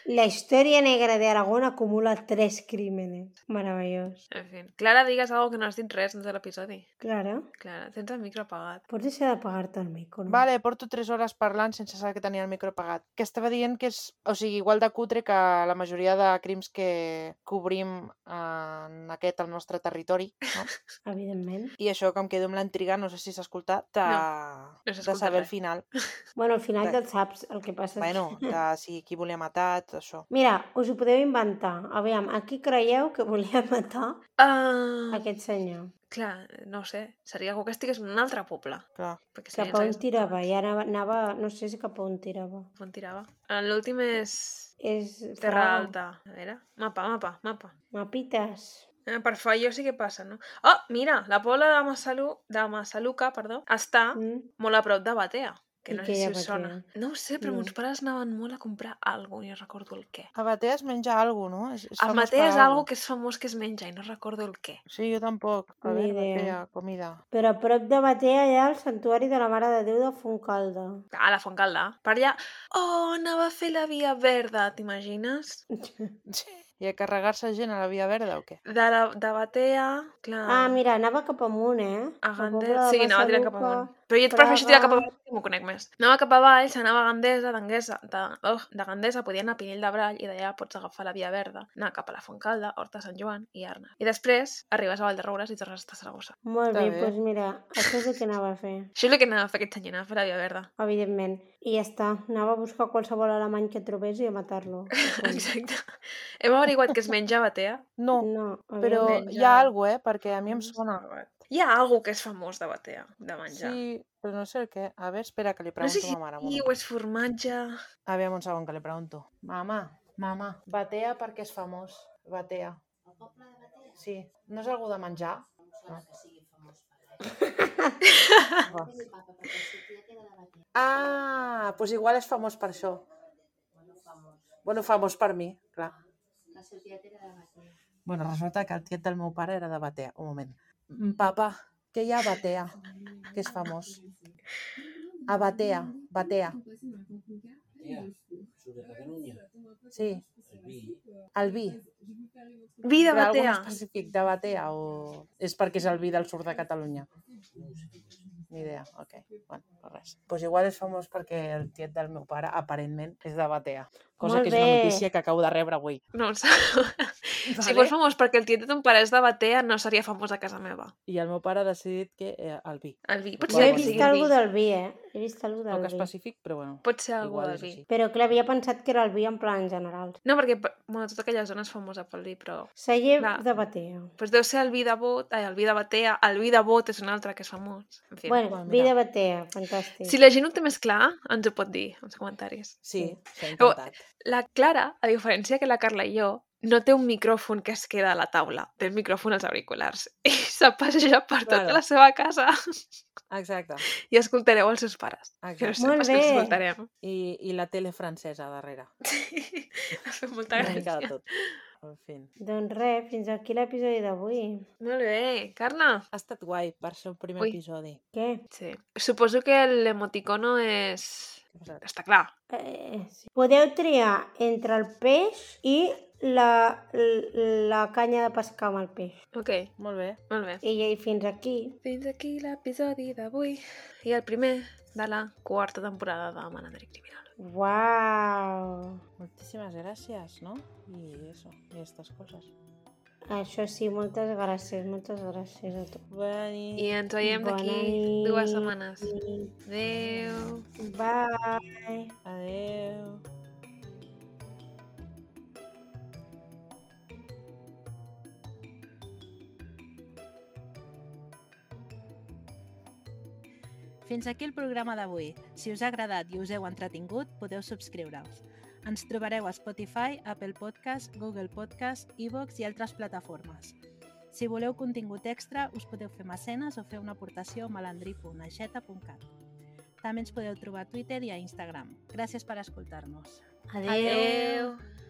S2: La història negra de Aragón acumula tres crímenes. Meravellós.
S1: En fi. Clara, digues algo que no has dit res des de l'episodi.
S2: Clara,
S1: Clara, tens el micro apagat.
S2: pots deixar d'apagar-te el
S1: Mm.
S2: micro? No?
S4: Vale, porto 3 hores parlant sense saber que tenia el micro apagat. Que estava dient que és, o sigui, igual de cutre que la majoria de crims que cobrim en aquest, el nostre territori, no?
S2: Evidentment.
S4: I això que em quedo amb la intriga, no sé si s'ha escoltat, de,
S1: no s'ha
S4: de
S1: escoltat
S4: saber el
S1: res.
S4: final.
S2: Bueno, al final
S4: Vale.
S2: ja et saps el que passa.
S4: Bueno, de si qui volia matar, tot això.
S2: Mira, us ho podeu inventar. Aviam, a qui creieu que volia matar
S1: Uh,
S2: aquest senyor?
S1: Clar, no ho sé. Seria algú que estigués en un altre poble.
S4: Clar.
S1: Perquè si
S2: Cap a on tirava? Ja anava, anava, no sé si cap a on tirava.
S1: On tirava. En L'últim és
S2: És...
S1: Terra
S2: farà
S1: Alta. A veure, mapa, mapa, mapa.
S2: Mapites.
S1: Eh, per fallo sí que passa, no? Oh, mira, la pobla de, Massalu, de Massaluca perdó, està
S2: Mm?
S1: molt a prop de Batea. Que
S2: I
S1: no
S2: què
S1: sé
S2: hi
S1: si
S2: ha a
S1: us sona.
S2: Batea? Mm.
S1: No ho sé, però
S2: No.
S1: mons pares anaven molt a comprar alguna i no recordo el què.
S4: A Batea es menja alguna no? És, és
S1: El
S4: famós
S1: Batea
S4: per
S1: és
S4: algo.
S1: algo que és famós que es menja i no recordo el què.
S4: Sí, jo tampoc. A
S2: Ni
S4: veure,
S2: idea.
S4: Batea, comida.
S2: Però a prop de Batea hi ha el santuari de la Mare de Déu de Fontcalda.
S1: Ah, la Fontcalda. Per allà... Oh, anava a fer la Via Verda, t'imagines?
S4: I a carregar-se gent a la Via Verda o què?
S1: De, la, de Batea, clar...
S2: Ah, mira, anava cap amunt, eh?
S1: A
S2: Al poble
S1: Gandesa...
S2: de
S1: Sí, anava tirant cap
S2: Massaluca.
S1: amunt. Però jo et prefereixo tirar cap
S2: Praga.
S1: avall, que m'ho conec més. Anava cap avall, s'anava a Gandesa, d'Anguesa, de, oh, de Gandesa podia anar a Pinell de Brall i d'allà pots agafar la Via Verda, anar cap a la Fontcalda, Horta Sant Joan i Arna. I després arribes a Vall de Roures i tornes a Saragossa.
S2: Molt
S4: Està
S2: bé,
S4: bé.
S2: doncs pues mira, això és el que anava a fer.
S1: Això és el que anava a fer aquest any, anava a fer la Via Verda.
S2: Evidentment. I ja està. Anava a buscar qualsevol alemany que trobés i a matar-lo.
S1: Exacte. Hem averiguat que es menja batea.
S4: No,
S2: No,
S4: Oh, però
S2: evidentment.
S4: hi ha
S1: menja-
S4: alguna eh? Perquè a mi em sona.
S1: Hi ha algú que és famós de batea, de menjar.
S4: Sí, però no sé el què. A veure, espera, que li
S1: No
S4: pregunto
S1: sé
S4: a
S1: si
S4: ma mare. un
S1: hi
S4: moment.
S1: o és formatge...
S4: A veure, un segon, que li pregunto. Mama, mama, batea perquè és famós. Batea. Sí. No és algú de menjar? No. Va. Ah, doncs igual és famós per això. Bueno, famós Ah, per mi, clar. Bueno, resulta que el tiet del meu pare era de Batea. Un moment. Mm, Papa, que hi ha a Batea? Que és famós. A Batea, Batea. Sí. El vi.
S1: Vi de
S4: Però algun
S1: batea.
S4: específic de Batea o és perquè és el vi del sud de Catalunya? Ni idea, ok. Bueno, no res. Doncs pues igual és famós perquè el tiet del meu pare, aparentment, és de Batea. Cosa
S2: Molt
S4: que és una
S2: bé.
S4: notícia que acabo de rebre avui.
S1: No ho sé. Si fos famós perquè el tiet de ton pare és de batea, no seria famós a casa meva.
S4: I el meu pare ha decidit que eh, el vi.
S1: El vi. Pot
S2: Jo he
S1: ser, que
S4: Bueno,
S1: sigui
S2: vist
S4: sí.
S1: el
S2: algú
S1: vi.
S2: del vi, eh? He vist algú del
S4: Poc
S2: vi.
S4: específic, però bueno.
S1: Pot ser algú
S4: Igual
S1: del
S4: és
S1: vi.
S4: així.
S2: Però que l'havia pensat que era el vi en plan general.
S1: No, perquè pe- bueno, tota aquella zona és famosa pel vi, però...
S2: Celler
S1: Clar.
S2: de Batea.
S1: Pues deu ser el vi de bot, ai, el vi de batea, el vi de bot és un altre que és famós. En fi.
S2: Bueno,
S4: Bueno,
S2: vi
S4: mira.
S2: de Batea, fantàstic.
S1: Si la gent ho té més clar, ens ho pot dir, als comentaris.
S4: Sí, s'ha
S1: Llavors-
S4: intentat.
S1: La Clara, a diferència que la Carla i jo, no té un micròfon que es queda a la taula, té el micròfon als auriculars i se passeja per tota
S4: Claro.
S1: la seva casa
S4: Exacte.
S1: i escoltareu els seus pares. Que no
S4: exacte.
S1: sé,
S2: Molt
S1: pas que
S2: bé.
S1: els escoltarem.
S4: I, I la tele francesa darrere.
S1: Em fa molta
S4: Una mica de
S1: gràcia.
S4: tot. En fi.
S2: Doncs res, fins aquí l'episodi d'avui.
S1: Molt bé, Carla.
S4: Ha estat guai per ser el primer
S1: Ui.
S4: episodi.
S2: Què?
S1: Sí. Suposo que l'emoticono és...
S4: Què ha passat?
S1: Està clar.
S2: Eh, sí. Podeu triar entre el peix i la, l- la canya de pescar amb el peix.
S1: Ok,
S4: Molt bé.
S1: molt bé.
S2: I, i fins aquí.
S1: Fins aquí l'episodi d'avui i el primer de la quarta temporada de Manandri Criminal.
S2: Uau!
S4: Moltíssimes gràcies, no? I això, i aquestes coses.
S2: Això Ah, sí, moltes gràcies, moltes gràcies a tu.
S4: Bona nit.
S1: I ens veiem d'aquí
S2: Bona
S1: dues
S2: nit.
S1: setmanes. Adéu.
S2: Bye!
S4: Adéu.
S5: Fins aquí el programa d'avui. Si us ha agradat i us heu entretingut, podeu subscriure-us. Ens trobareu a Spotify, Apple Podcast, Google Podcast, iVoox i altres plataformes. Si voleu contingut extra, us podeu fer mecenes o fer una aportació a malandri.aixeta.cat. També ens podeu trobar a Twitter i a Instagram. Gràcies per escoltar-nos.
S2: Adéu!
S1: Adéu.